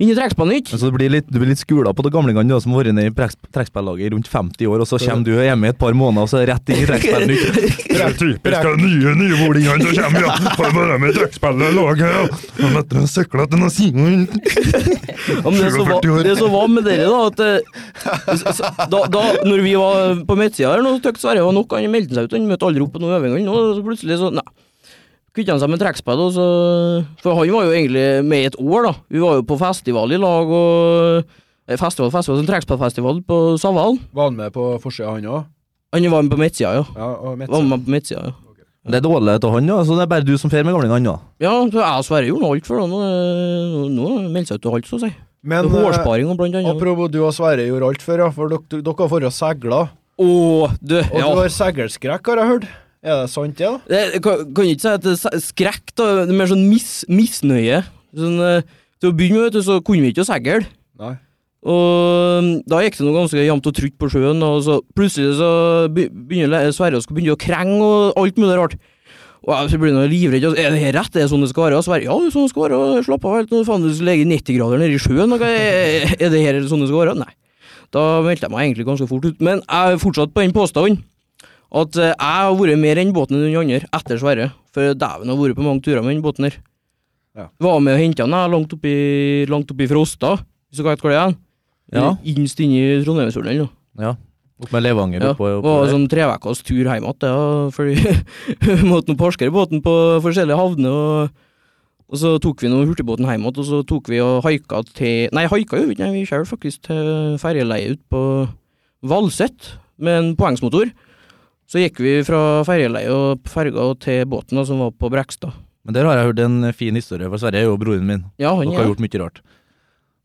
F: inn i trekkspillnytt.
A: Så du blir litt, du blir litt skula på de gamlingene du, som har vært nede i trekks- trekkspillaget i rundt 50 år, og så kommer du hjemme i et par måneder og så er det rett inn i Trekkspill Nytt.
G: Typisk av nye nymålingene som kommer, ja. Får være med i trekkspillet laget, ja. Men etter å ha sykla til noen siden
F: Ja, men det som var,
G: 47 år.
F: det som var med dere, da, at eh, s- s- da, da når vi var på midtsida her, nå tøkte Sverre var nok, han meldte seg ut, han møtte aldri opp på noen øvinger, nå, og så plutselig så, nei. Kuttet han seg med trekkspill, og så For han var jo egentlig med i et år, da. Vi var jo på festival i lag, og eh, Festival, festival, sånn trekkspillfestival på Savalen.
D: Var han med på forsida, han òg?
F: Han var med på midtsida, ja.
D: Ja, og Metz-
F: Var med på midtsida, ja.
A: Det er dårlig av han, da, så det er bare du som fer med gamlingene. da.
F: Ja, så jeg og Sverre gjorde nå alt for det. Nå, eh, nå meldte seg ut til alt, så å si.
D: Men eh,
F: Hårsparing og blant annet.
D: apropos du og Sverre gjorde alt før, ja, for dere, dere har vært og segla.
F: Å, du!
D: Og
F: Ja.
D: du har seilskrekk, har jeg hørt. Er det sant, det? da?
F: Jeg kan, kan ikke si at det er se- skrekk, da. Det er mer sånn mis, misnøye. Sånn, eh, til å begynne med, vet du, så kunne vi ikke å segle.
D: Nei.
F: Og mm, da gikk det noe ganske jevnt og trutt på sjøen, og så plutselig så be- begynner le- Sverre å skulle begynne å krenge og alt mulig rart. Og jeg så blir nå livredd. og så, Er det her rett? Er det sånn det skal være? Og Sverre ja, det er sånn det skal være. og Slapp av helt. nå Faen, du ligger i 90-grader nede i sjøen. Og hva er, er det her sånn det skal være? Nei. Da meldte jeg meg egentlig ganske fort ut. Men jeg er fortsatt på den påstanden at eh, jeg har vært mer enn båten enn den andre etter Sverre. For dæven, jeg har vært på mange turer med den båten her.
D: Ja.
F: Var med og henta den jeg, langt oppi, langt oppi Frosta, hvis du vet hvor det er.
A: Ja.
F: Innst inne i Trondheimsfjorden. eller noe.
A: Ja. Mm. Opp med Levanger
F: Ja,
A: oppå,
F: det
A: oppå
F: var
A: der.
F: sånn treukas tur hjem igjen, ja, fordi vi måtte nå parskere båten på forskjellige havner. Og, og så tok vi nå hurtigbåten hjem igjen, og så tok vi og haika til Nei, haika gjorde vi ikke, nei, vi kjørte faktisk til ferjeleiet ute på Valset med en poengsmotor. Så gikk vi fra ferjeleiet og ferga og til båten da, som var på Brekstad.
A: Men der har jeg hørt en fin historie, for Sverre er jo broren min.
F: Ja, han
A: Dere har
F: ja.
A: gjort mye rart.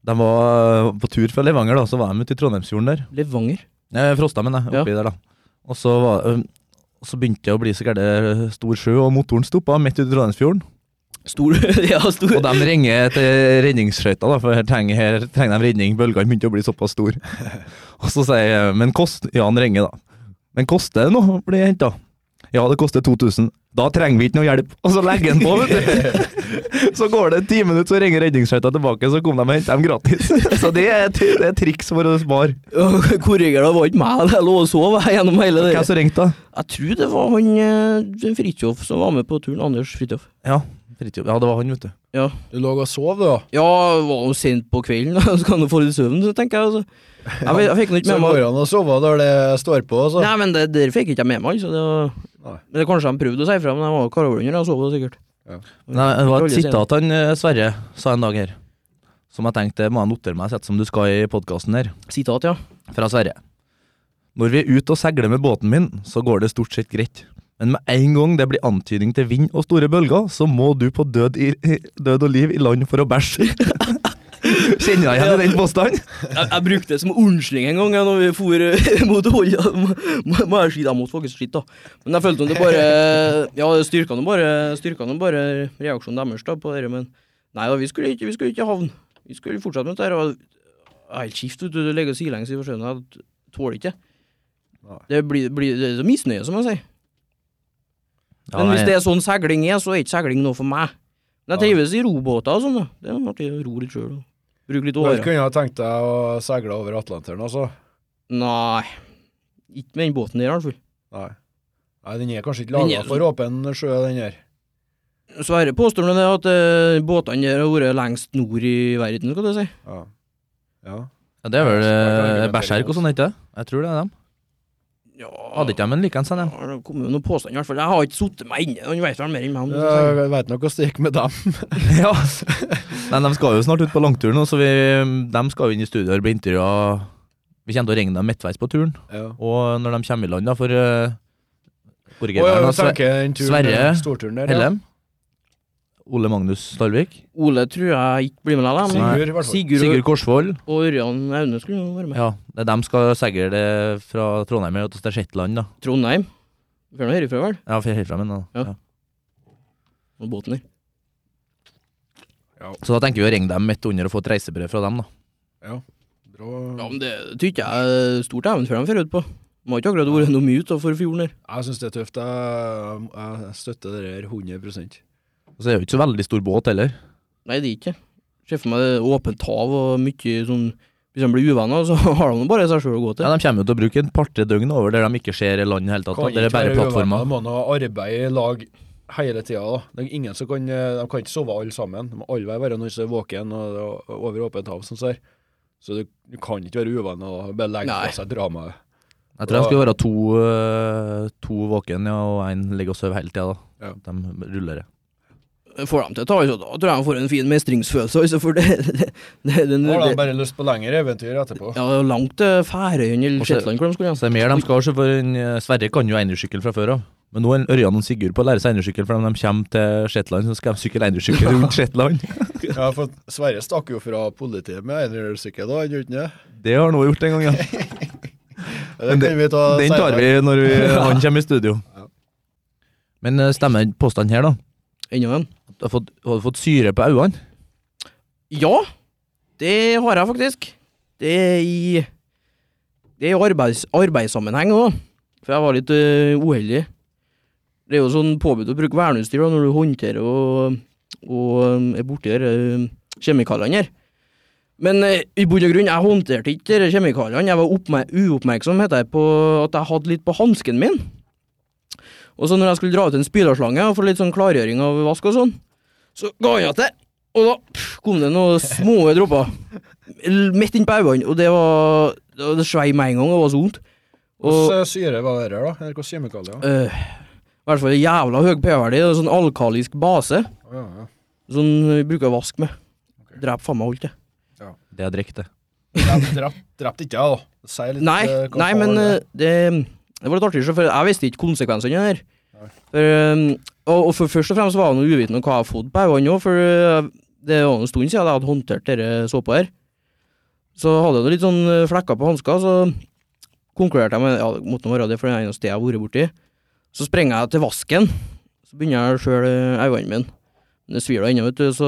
A: De var eh, på tur fra Levanger, da, så var de ute i Trondheimsfjorden der.
F: Levanger.
A: Eh, Frosta, mener jeg.
F: Ja.
A: Oppi der, da. Og så, var, øhm, så begynte det å bli så gæren stor sjø, og motoren stoppa midt ute i Trondheimsfjorden.
F: Stor Ja, stor
A: Og de ringer til redningsskøyta, da, for her trenger, her trenger de redning. Bølgene begynte å bli såpass store. Og så sier jeg Men kost Ja, han ringer, da. Men koster det noe å bli henta? Ja, det koster 2000. Da trenger vi ikke noe hjelp. Og så legger han på, vet du. Så går det ti minutter, så ringer redningsskøyta tilbake, så kom de og henter dem gratis. Så det er, det er triks for å spare.
F: Korriger, det var ikke meg. Jeg lå og sov jeg, gjennom hele det.
A: Hvem som ringte, da?
F: Jeg tror det var han eh, Fridtjof som var med på turen. Anders Fridtjof.
A: Ja, Fridtjof. Ja, det var han, vet du.
F: Ja,
D: Du lå og sov, da?
F: ja var jo sent på kvelden, da. så kan du få litt søvn, så tenker jeg. Altså. Jeg, vet- jeg fikk nå
D: Så
F: ikke med
D: går
F: meg
D: det an å sove når det står på, altså?
F: Nei, men det der fikk ikke jeg med meg. Altså. Det var...
D: Nei.
F: Men det Kanskje de prøvde å si ifra, men jeg var klar over det under. Jeg sov da sikkert.
A: Nei, det var et
F: Rolle
A: sitat han eh, Sverre sa en dag her, som jeg tenkte må jeg notere meg, sett som du skal i podkasten her,
F: Sitat, ja.
A: fra Sverre. Når vi er ute og seiler med båten min, så går det stort sett greit. Men med en gang det blir antydning til vind og store bølger, så må du på død, i, død og liv i land for å bæsje. Kjenner jeg igjen i den påstanden?
F: Jeg, jeg brukte det som unnskyldning en gang ja, når vi for eh, mot Holja. Må- må Jeg skite, jeg måtte faktisk skite, da. Men jeg følte om det bare Ja, styrkene bare, styrkene bare reaksjonen deres da, på det, men nei da, vi skulle ikke, vi skulle ikke havne. Vi skulle fortsette med det her. og Det er helt kjipt, vet du. Du ligger sidelengs i forsøket. Jeg tåler ikke det. Det blir, blir det er så misnøye, som jeg sier. Men hvis det er sånn seiling er, så er ikke seiling noe for meg. Men jeg trives i robåter og sånn, da. Det er artig å ro litt sjøl. Bruke litt
D: Du
F: årer.
D: kunne ha tenkt deg å seile over Atlanteren, altså?
F: Nei, ikke med den båten der i hvert fall.
D: Nei. Nei, Den er kanskje ikke
F: Den
D: laga
F: er-
D: for åpen sjø, den her.
F: Sverre påstår nå det at eh, båtene der har vært lengst nord i verden, skal du si.
D: Ja. ja.
A: Ja, det er vel eh,
D: argumentere
A: Berserk og sånn, ikke det? Jeg tror det er dem.
F: Ja,
A: Hadde ikke de en likens,
F: ja,
A: han?
F: Det kom jo noen påstander, i hvert fall. Jeg har ikke sittet meg inne, han vet vel mer enn meg. om
D: Eh,
F: det, skal jeg si.
D: Jeg veit nå hvordan det gikk med dem.
A: Ja. Nei, de skal jo snart ut på langtur nå, så vi, de skal jo inn i studio og bli intervjua. Vi kommer til å ringe dem midtveis på turen,
D: Ja.
A: og når de kommer i land, da, for uh,
D: Og jeg
A: originalen
F: altså,
A: Sve-
D: tenker den turen,
A: Sverre
D: storturen der. Ja.
A: Hellem. Ole Magnus Dalvik.
F: Ole tror jeg ikke blir med deg, da,
D: Sigurd, i hvert
F: men
D: fall.
F: Sigurd,
A: Sigurd Korsvoll.
F: og Ørjan Aune skulle jo være med.
A: Ja, det er dem skal seile det fra Trondheim og til Shetland, da.
F: Trondheim. Du får nå høre ifra, vel?
A: Ja, for helt frem, da.
F: Ja.
A: Ja.
F: Og båten der.
A: Så da tenker vi å ringe dem midt under og få et reisebrev fra dem, da.
F: Ja,
D: Bra.
F: men det tror ikke jeg er stort eventyr de får ut på. De har ikke akkurat vært noe mye utafor fjorden der.
D: Jeg syns det er tøft. Jeg, jeg støtter det her 100
A: Og så er det jo ikke så veldig stor båt heller.
F: Nei, det er ikke. Ser for meg det er åpent hav og mye sånn Hvis de blir uvenner, så har de bare seg sjøl å gå til.
A: Ja, De kommer jo til å bruke et par-tre døgn over der de ikke ser land i det hele tatt.
D: Kan
A: at Det er
D: ikke
A: bare
D: være uvenner,
A: plattformer.
D: De må nå arbeide i lag hele tida. da. Det er ingen som kan, eh, de kan ikke sove alle sammen. De må alle være noen som er våken og og over åpent hav. sånn ser. Så du, du kan ikke være uvenner og bare legge
F: Nei.
D: fra seg dramaet.
A: Jeg tror de skal være to, øh, to våken, ja, og én ligger og sover hele tida.
D: Ja.
A: da. De ruller det.
F: får dem til å ta i seg, da tror jeg de får en fin mestringsfølelse. Altså, for det, det, det, det, det,
D: Nå har de
F: det,
D: bare lyst på lengre eventyr etterpå.
F: ja, det er langt til Færøyene eller
A: Og så-
F: Shetland hvor de skulle.
A: Så det er mer de skal, så for en, øh, Sverre kan jo einersykkel fra før av. Men nå er Ørjan og Sigurd på å lære seg einersykkel, for når de kommer til Shetland, så skal de sykle einersykkel rundt Shetland.
D: Ja, for Sverre stakk jo fra politiet med enersykkel, da, gjorde han ikke det?
A: Det har han òg gjort en gang, ja.
D: Det kan vi ta
A: Den tar
D: senere.
A: vi når vi, han kommer i studio. Men øh, stemmer påstanden her, da?
F: Enda en.
A: At Du har fått, har du fått syre på øynene?
F: Ja, det har jeg faktisk. Det er i Det er i arbeids, arbeidssammenheng òg, for jeg var litt øh, uheldig. Det er jo sånn påbudt å bruke verneutstyr da, når du håndterer og, og øh, er borti de øh, kjemikaliene her. Men øh, i bunn og grunn, jeg håndterte ikke de kjemikaliene. Jeg var oppmer uoppmerksom heter det, på at jeg hadde litt på hansken min. Og så når jeg skulle dra ut en spylerslange og få litt sånn klargjøring av vask og sånn, så ga jeg til. Og da pff, kom det noen små dråper l- midt inn på øynene, og det var Det, det svei med en gang, og det var så vondt. Og-
D: Hvordan eh, syre var det her, da? Eller hvordan kjemikalier?
F: Øh, I hvert fall jævla høy pH-verdi. det er Sånn alkalisk base.
D: Ja, ja.
F: Sånn vi bruker å vaske med. Dreper faen meg alt, det.
A: Det er direkte.
D: Drep- drep- Drepte ikke jeg, da. Si litt
F: Nei,
D: eh, hva
F: nei
D: faen
F: men
D: var
F: øh,
D: det?
F: det, det var litt artig, for jeg visste ikke konsekvensene av det her. For, øh, og, og for først og fremst eh, var jeg noe uvitende om hva jeg hadde fått på øynene òg, for øh, det var en stund siden jeg hadde håndtert denne såpa her. Så hadde jeg noe litt sånn eh, flekker på hanska, så konkluderte jeg med ja, det måtte nå være det, for det er det eneste jeg har vært borti. Så sprenger jeg til vasken, så begynner jeg å skjøle eh, øynene mine. Men Det svir da ennå, vet du. Så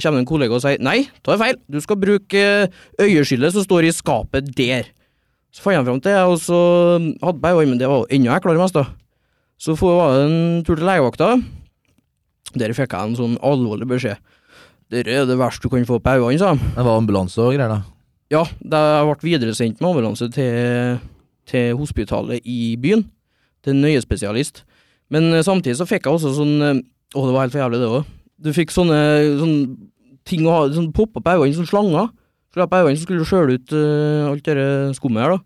F: kommer det en kollega og sier nei, ta feil, du skal bruke eh, øyeskyllet som står i skapet der. Så fant jeg fram til det, og så hadde jeg øynene, men det var jo enda eklere mest, da. Så for, var det en tur til legevakta. Der fikk jeg en sånn alvorlig beskjed. Dette er det verste du kan få på øynene, sa han.
A: Det var ambulanse og greier, da.
F: Ja, jeg ble videresendt med ambulanse til, til hospitalet i byen. Til en nøyespesialist. Men eh, samtidig så fikk jeg også sånn eh, Å, det var helt for jævlig, det òg. Du fikk sånne, sånne ting å ha sånn poppa på øynene, sånne slanger. Skulle ha på øynene, så skulle du skjøle ut eh, alt det der skummet her, da.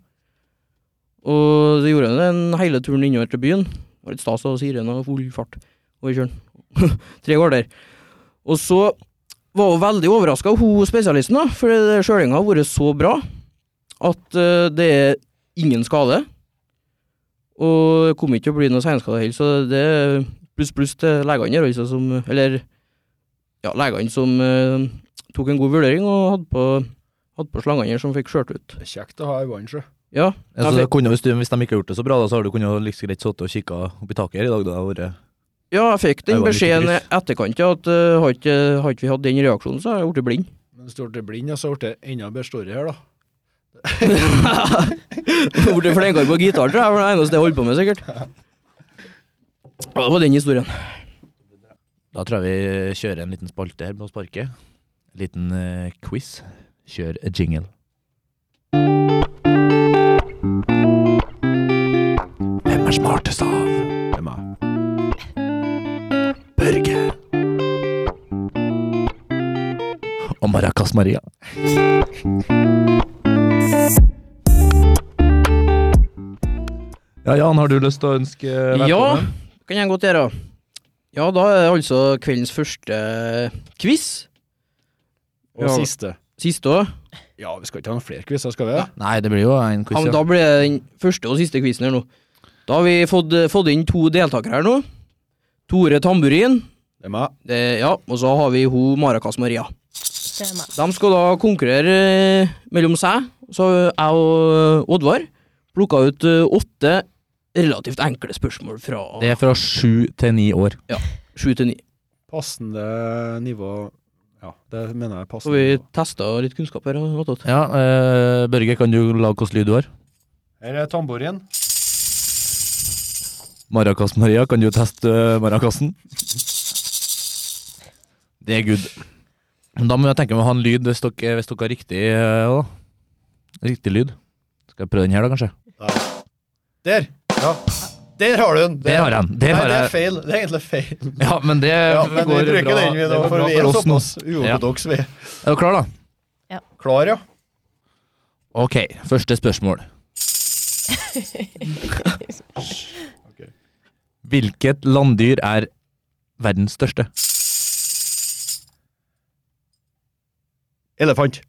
F: Og det gjorde jeg den hele turen innover til byen. Det var litt stas, og sirena og full fart over kjølen. Tre kvarter. Og så var jo veldig overraska, hun spesialisten, da, for det- det skjølinga har vært så bra at eh, det er ingen skade. Og det kommer ikke til å bli noe seinskade heller, så det er pluss pluss til legene her, altså, som Eller ja, legene som eh, tok en god vurdering og hadde på, hadde på slangene her, som fikk skjørt ut.
D: Det er kjekt å ha ei vannsjø.
F: Ja,
A: Ja, så
F: jeg fikk-
A: det Altså, kunne, hvis, du, hvis de ikke har gjort det så bra, da, så har du kunnet like greit sittet og kikka opp i taket her i dag. Da, det har vært-
F: Ja, jeg fikk
A: Jeg
F: den
A: var litt
F: beskjeden i
A: trist.
F: etterkant, ja, at eh, har ikke har ikke vi hatt den reaksjonen, så har jeg blitt blind.
D: Men hvis du ble blind, ja, så ble det enda bedre story her, da.
F: Blitt flinkere på gitar, tror jeg, for det er det eneste jeg holder på med, sikkert. Ja, det var den historien.
A: da tror jeg vi kjører en liten spalte her på sparket. En liten eh, quiz. Kjør jingle. Hvem er smartest av?
D: Det er meg.
A: Børge. Og Maracas Maria. Ja, Jan, har du lyst til å ønske
F: Ja, kan jeg godt gjøre. Ja, da er det altså kveldens første quiz.
D: Og
F: Ja.
D: siste.
F: Siste òg.
D: Ja, vi skal ikke ha noen flere quizer, skal vi? det?
A: Nei, det blir jo en
F: Ja,
A: quiz.
F: men da blir det den første og siste quizen her nå. Da har vi fått, fått inn to deltakere her nå. Tore Tamburin.
D: Det er meg.
F: Det, ja, og så har vi ho Maracas Maria.
B: Det er meg.
F: De skal da konkurrere eh, mellom seg. Så har jeg og eh, Oddvar plukka ut eh, åtte relativt enkle spørsmål fra
A: Det er fra sju til ni år.
F: sju til ni.
D: Passende nivå Ja, det mener jeg er
F: Så
D: passende.
F: vi
D: nivå.
F: testa litt kunnskap her. og noe sånt.
A: Ja, eh, Børge, kan du lage hvilken lyd du har?
D: Her er tamborin.
A: Maracas Maria, kan du teste eh, maracasen? Det er good. Men da må jeg tenke meg å ha en lyd, hvis dere, hvis dere har riktig, eh, da. riktig lyd. Skal jeg prøve den her, da, kanskje?
D: Der! Ja. Der har du den!
A: Der har jeg den! Der
D: Nei,
A: har
D: det er
A: jeg.
D: feil. Det er egentlig feil.
A: Ja, men det
D: Ja, men vi
A: går
D: bruker
A: bra.
D: den, vi,
A: det
D: nå,
A: går
D: for
A: bra
D: vi er
A: oss nå.
D: såpass uortodokse, vi.
A: Er du klar, da?
D: Klar, ja.
A: Ok, første spørsmål. Hvilket landdyr er verdens største?
D: Elefant.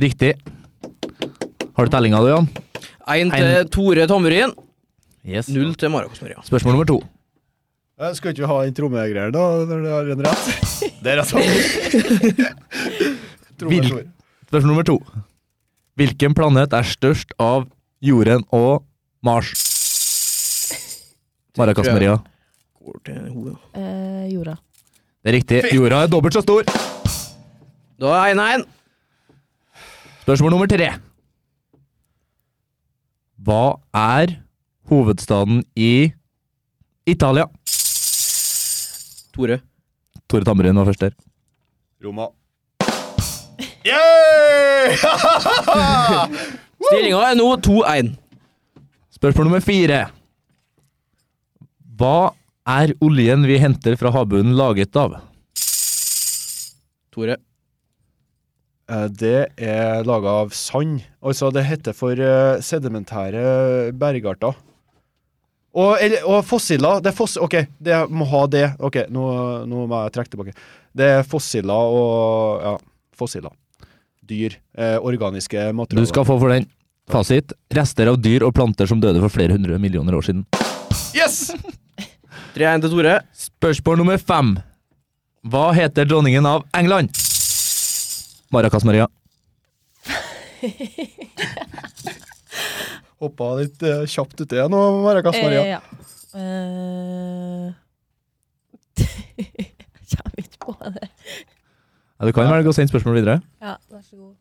A: Riktig. Har du tellinga, du, Jan?
F: Én
A: En-
F: til Tore Tamburin,
A: Yes.
F: null til Maracas Maria.
A: Spørsmål nummer to.
D: Eh, Skal ikke vi ha den trommegreia da, når det har en rett? Der er sant. Trommestor.
A: Spørsmål nummer to. Hvilken planet er størst av jorden og Mars? Maracas Maria.
F: Går til ho, ja.
B: Eh, jorda.
A: Det er riktig. Jorda er dobbelt så stor.
F: Da er én én.
A: Spørsmål nummer tre. Hva er hovedstaden i Italia?
F: Tore.
A: Tore Tammerin var først der.
D: Roma. Yeah!
F: Stillinga er nå 2-1.
A: Spørsmål nummer fire. Hva er oljen vi henter fra havbunnen laget av?
F: Tore.
D: Eh, Det er laga av sand. Altså, det heter for eh, sedimentære bergarter. Og, eller, og fossiler det er foss, Ok, det må ha det. Ok, nå, nå må jeg trekke tilbake. Det er fossiler og Ja, fossiler. Dyr. Eh, organiske
A: Du
D: materialer.
A: skal få for den. Fasit. Rester av dyr og planter som døde for flere hundre millioner år siden.
D: Yes!
F: 3-1 til Tore.
A: Spørsmål nummer fem. Hva heter dronningen av England? Maracas Maria.
D: Hoppa litt eh, kjapt uti nå, Maria Maria.
B: Eh, ja. Eh, Jeg kommer ikke på det.
A: Ja, du kan velge å sende spørsmål videre.
B: Ja, vær så god.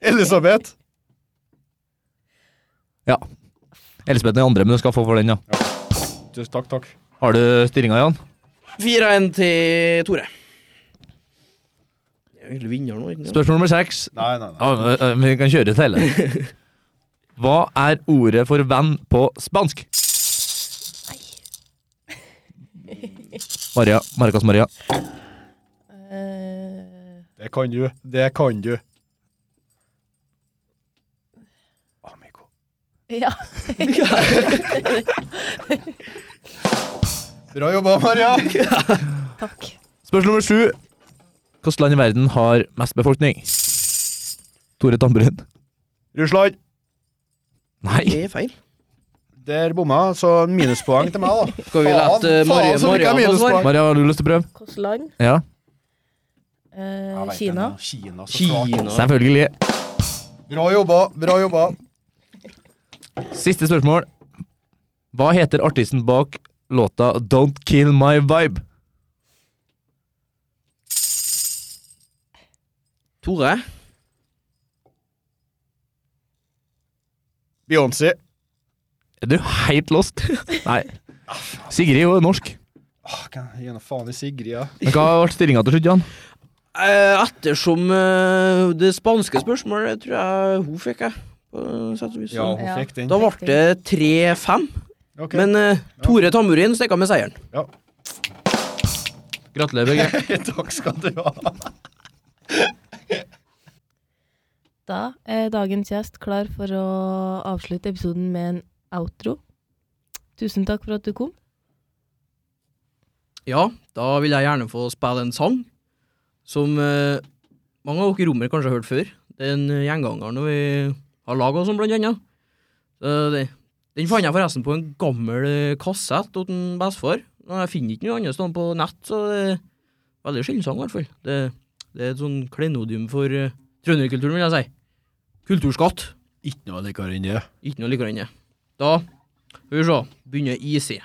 D: Elisabeth!
A: Elisabeth er den andre, men du skal få for den, ja.
D: Tusen takk, takk.
A: Har du stillinga, Jan?
F: 4-1 til Tore. Jeg er egentlig vinner nå, ikke sant?
A: Spørsmål nummer seks.
D: Nei, nei, nei.
A: Ja, men- men vi kan kjøre til hele. Hva er ordet for venn på spansk? Maria. Marcas Maria.
B: Eh,
D: Det kan du. Det kan du. Amigo.
B: ja.
D: Bra jobba, Maria.
B: Takk.
A: Spørsmål nummer sju. Hvilket land i verden har mest befolkning? Tore Tamburin.
D: Russland.
A: Nei.
F: Det er feil.
D: Der bomma, så minuspoeng til meg, da.
F: Skal vi eh,
D: Faen,
F: lette
D: faen,
F: Maria,
D: så fikk jeg
F: Maria få
D: minuspoeng.
F: svar?
A: Maria, har du lyst til å prøve?
B: Hvilket land?
A: Ja.
B: Eh,
D: Jeg vet
B: Kina?
D: det, Kina, så klart.
F: Kina.
A: Selvfølgelig.
D: Bra jobba, bra jobba.
A: Siste spørsmål. Hva heter artisten bak låta Don't Kill My Vibe?
F: Tore.
D: Beyoncé.
A: Er du helt lost? Nei. Sigrid er jo norsk.
D: Åh, hva gjennom faen i Sigrid, ja.
A: Men hva ble stillinga til slutt, Jan?
F: Eh, Ettersom eh, det spanske spørsmålet tror jeg hun fikk, jeg. På sett og vis.
D: Ja, hun
B: Ja.
D: fikk den.
F: Da ble det 3-5.
D: Ok.
F: Men eh, Tore Tamburin stakk av med seieren.
A: Gratulerer, begge.
D: Takk skal du ha.
B: Da er dagens gjest klar for å avslutte episoden med en outro. Tusen takk for at du kom.
F: Ja, da vil jeg gjerne få spille en sang som eh, mange av dere romere kanskje har hørt før. Det er en eh, gjenganger når vi har laga sånn, blant annet. Så det, den fant jeg forresten på en gammel eh, kassett hos en bestefar. Men Jeg finner ikke noe annet sted på nett, så det er veldig sjelden, i hvert fall. Det, det er et sånn klenodium for uh, trønderkulturen, vil jeg si. Kulturskatt.
D: Ikke noe likere enn det.
F: Ikke noe likere enn det. Da skal vi se. Begynner easy.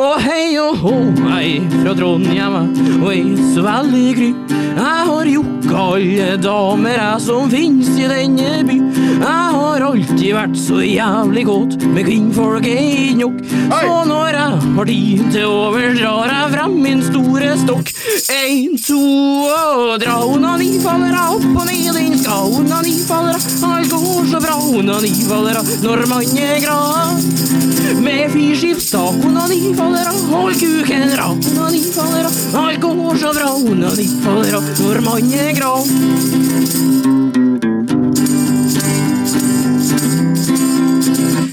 F: Å hei og hå, hei fra Trondheim, og jeg er så veldig gry. Jeg har jokka alle damer jeg som finnes i denne by. Jeg har alltid vært så jævlig kåt, men kvinnfolk er ikke nok. Så når jeg har tid til overs, drar jeg frem min store stokk. Én, to, og dra onani faller jeg opp og ned, den skal onani faller jeg. Alt går så bra, onani faller jeg når man er glad. Med firskipstak, onani faller av, hold kuken rak, onani faller av, alt går så bra, onani faller av, når man er grav.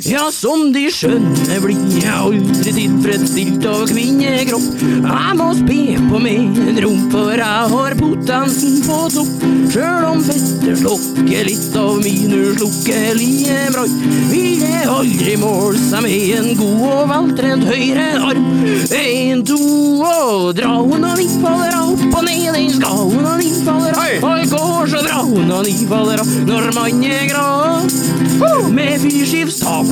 F: Ja, som de skjønner blir jeg aldri tilfredsstilt av kvinnekropp. Jeg må spe på med en rump, for jeg har potensen på topp. Sjøl om fettet slokker litt av min uslukkelige brann, vil det aldri måle seg med en god og veltrent høyre arm. En, to, og dra onani faller av, opp og ned, den skal onani faller av. Alt går så bra, onani faller av, når man er glad. Med fyrskivstak,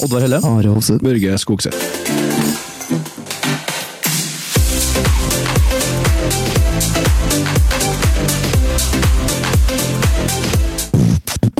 A: Oddvar Helle.
C: Børge Skogseth.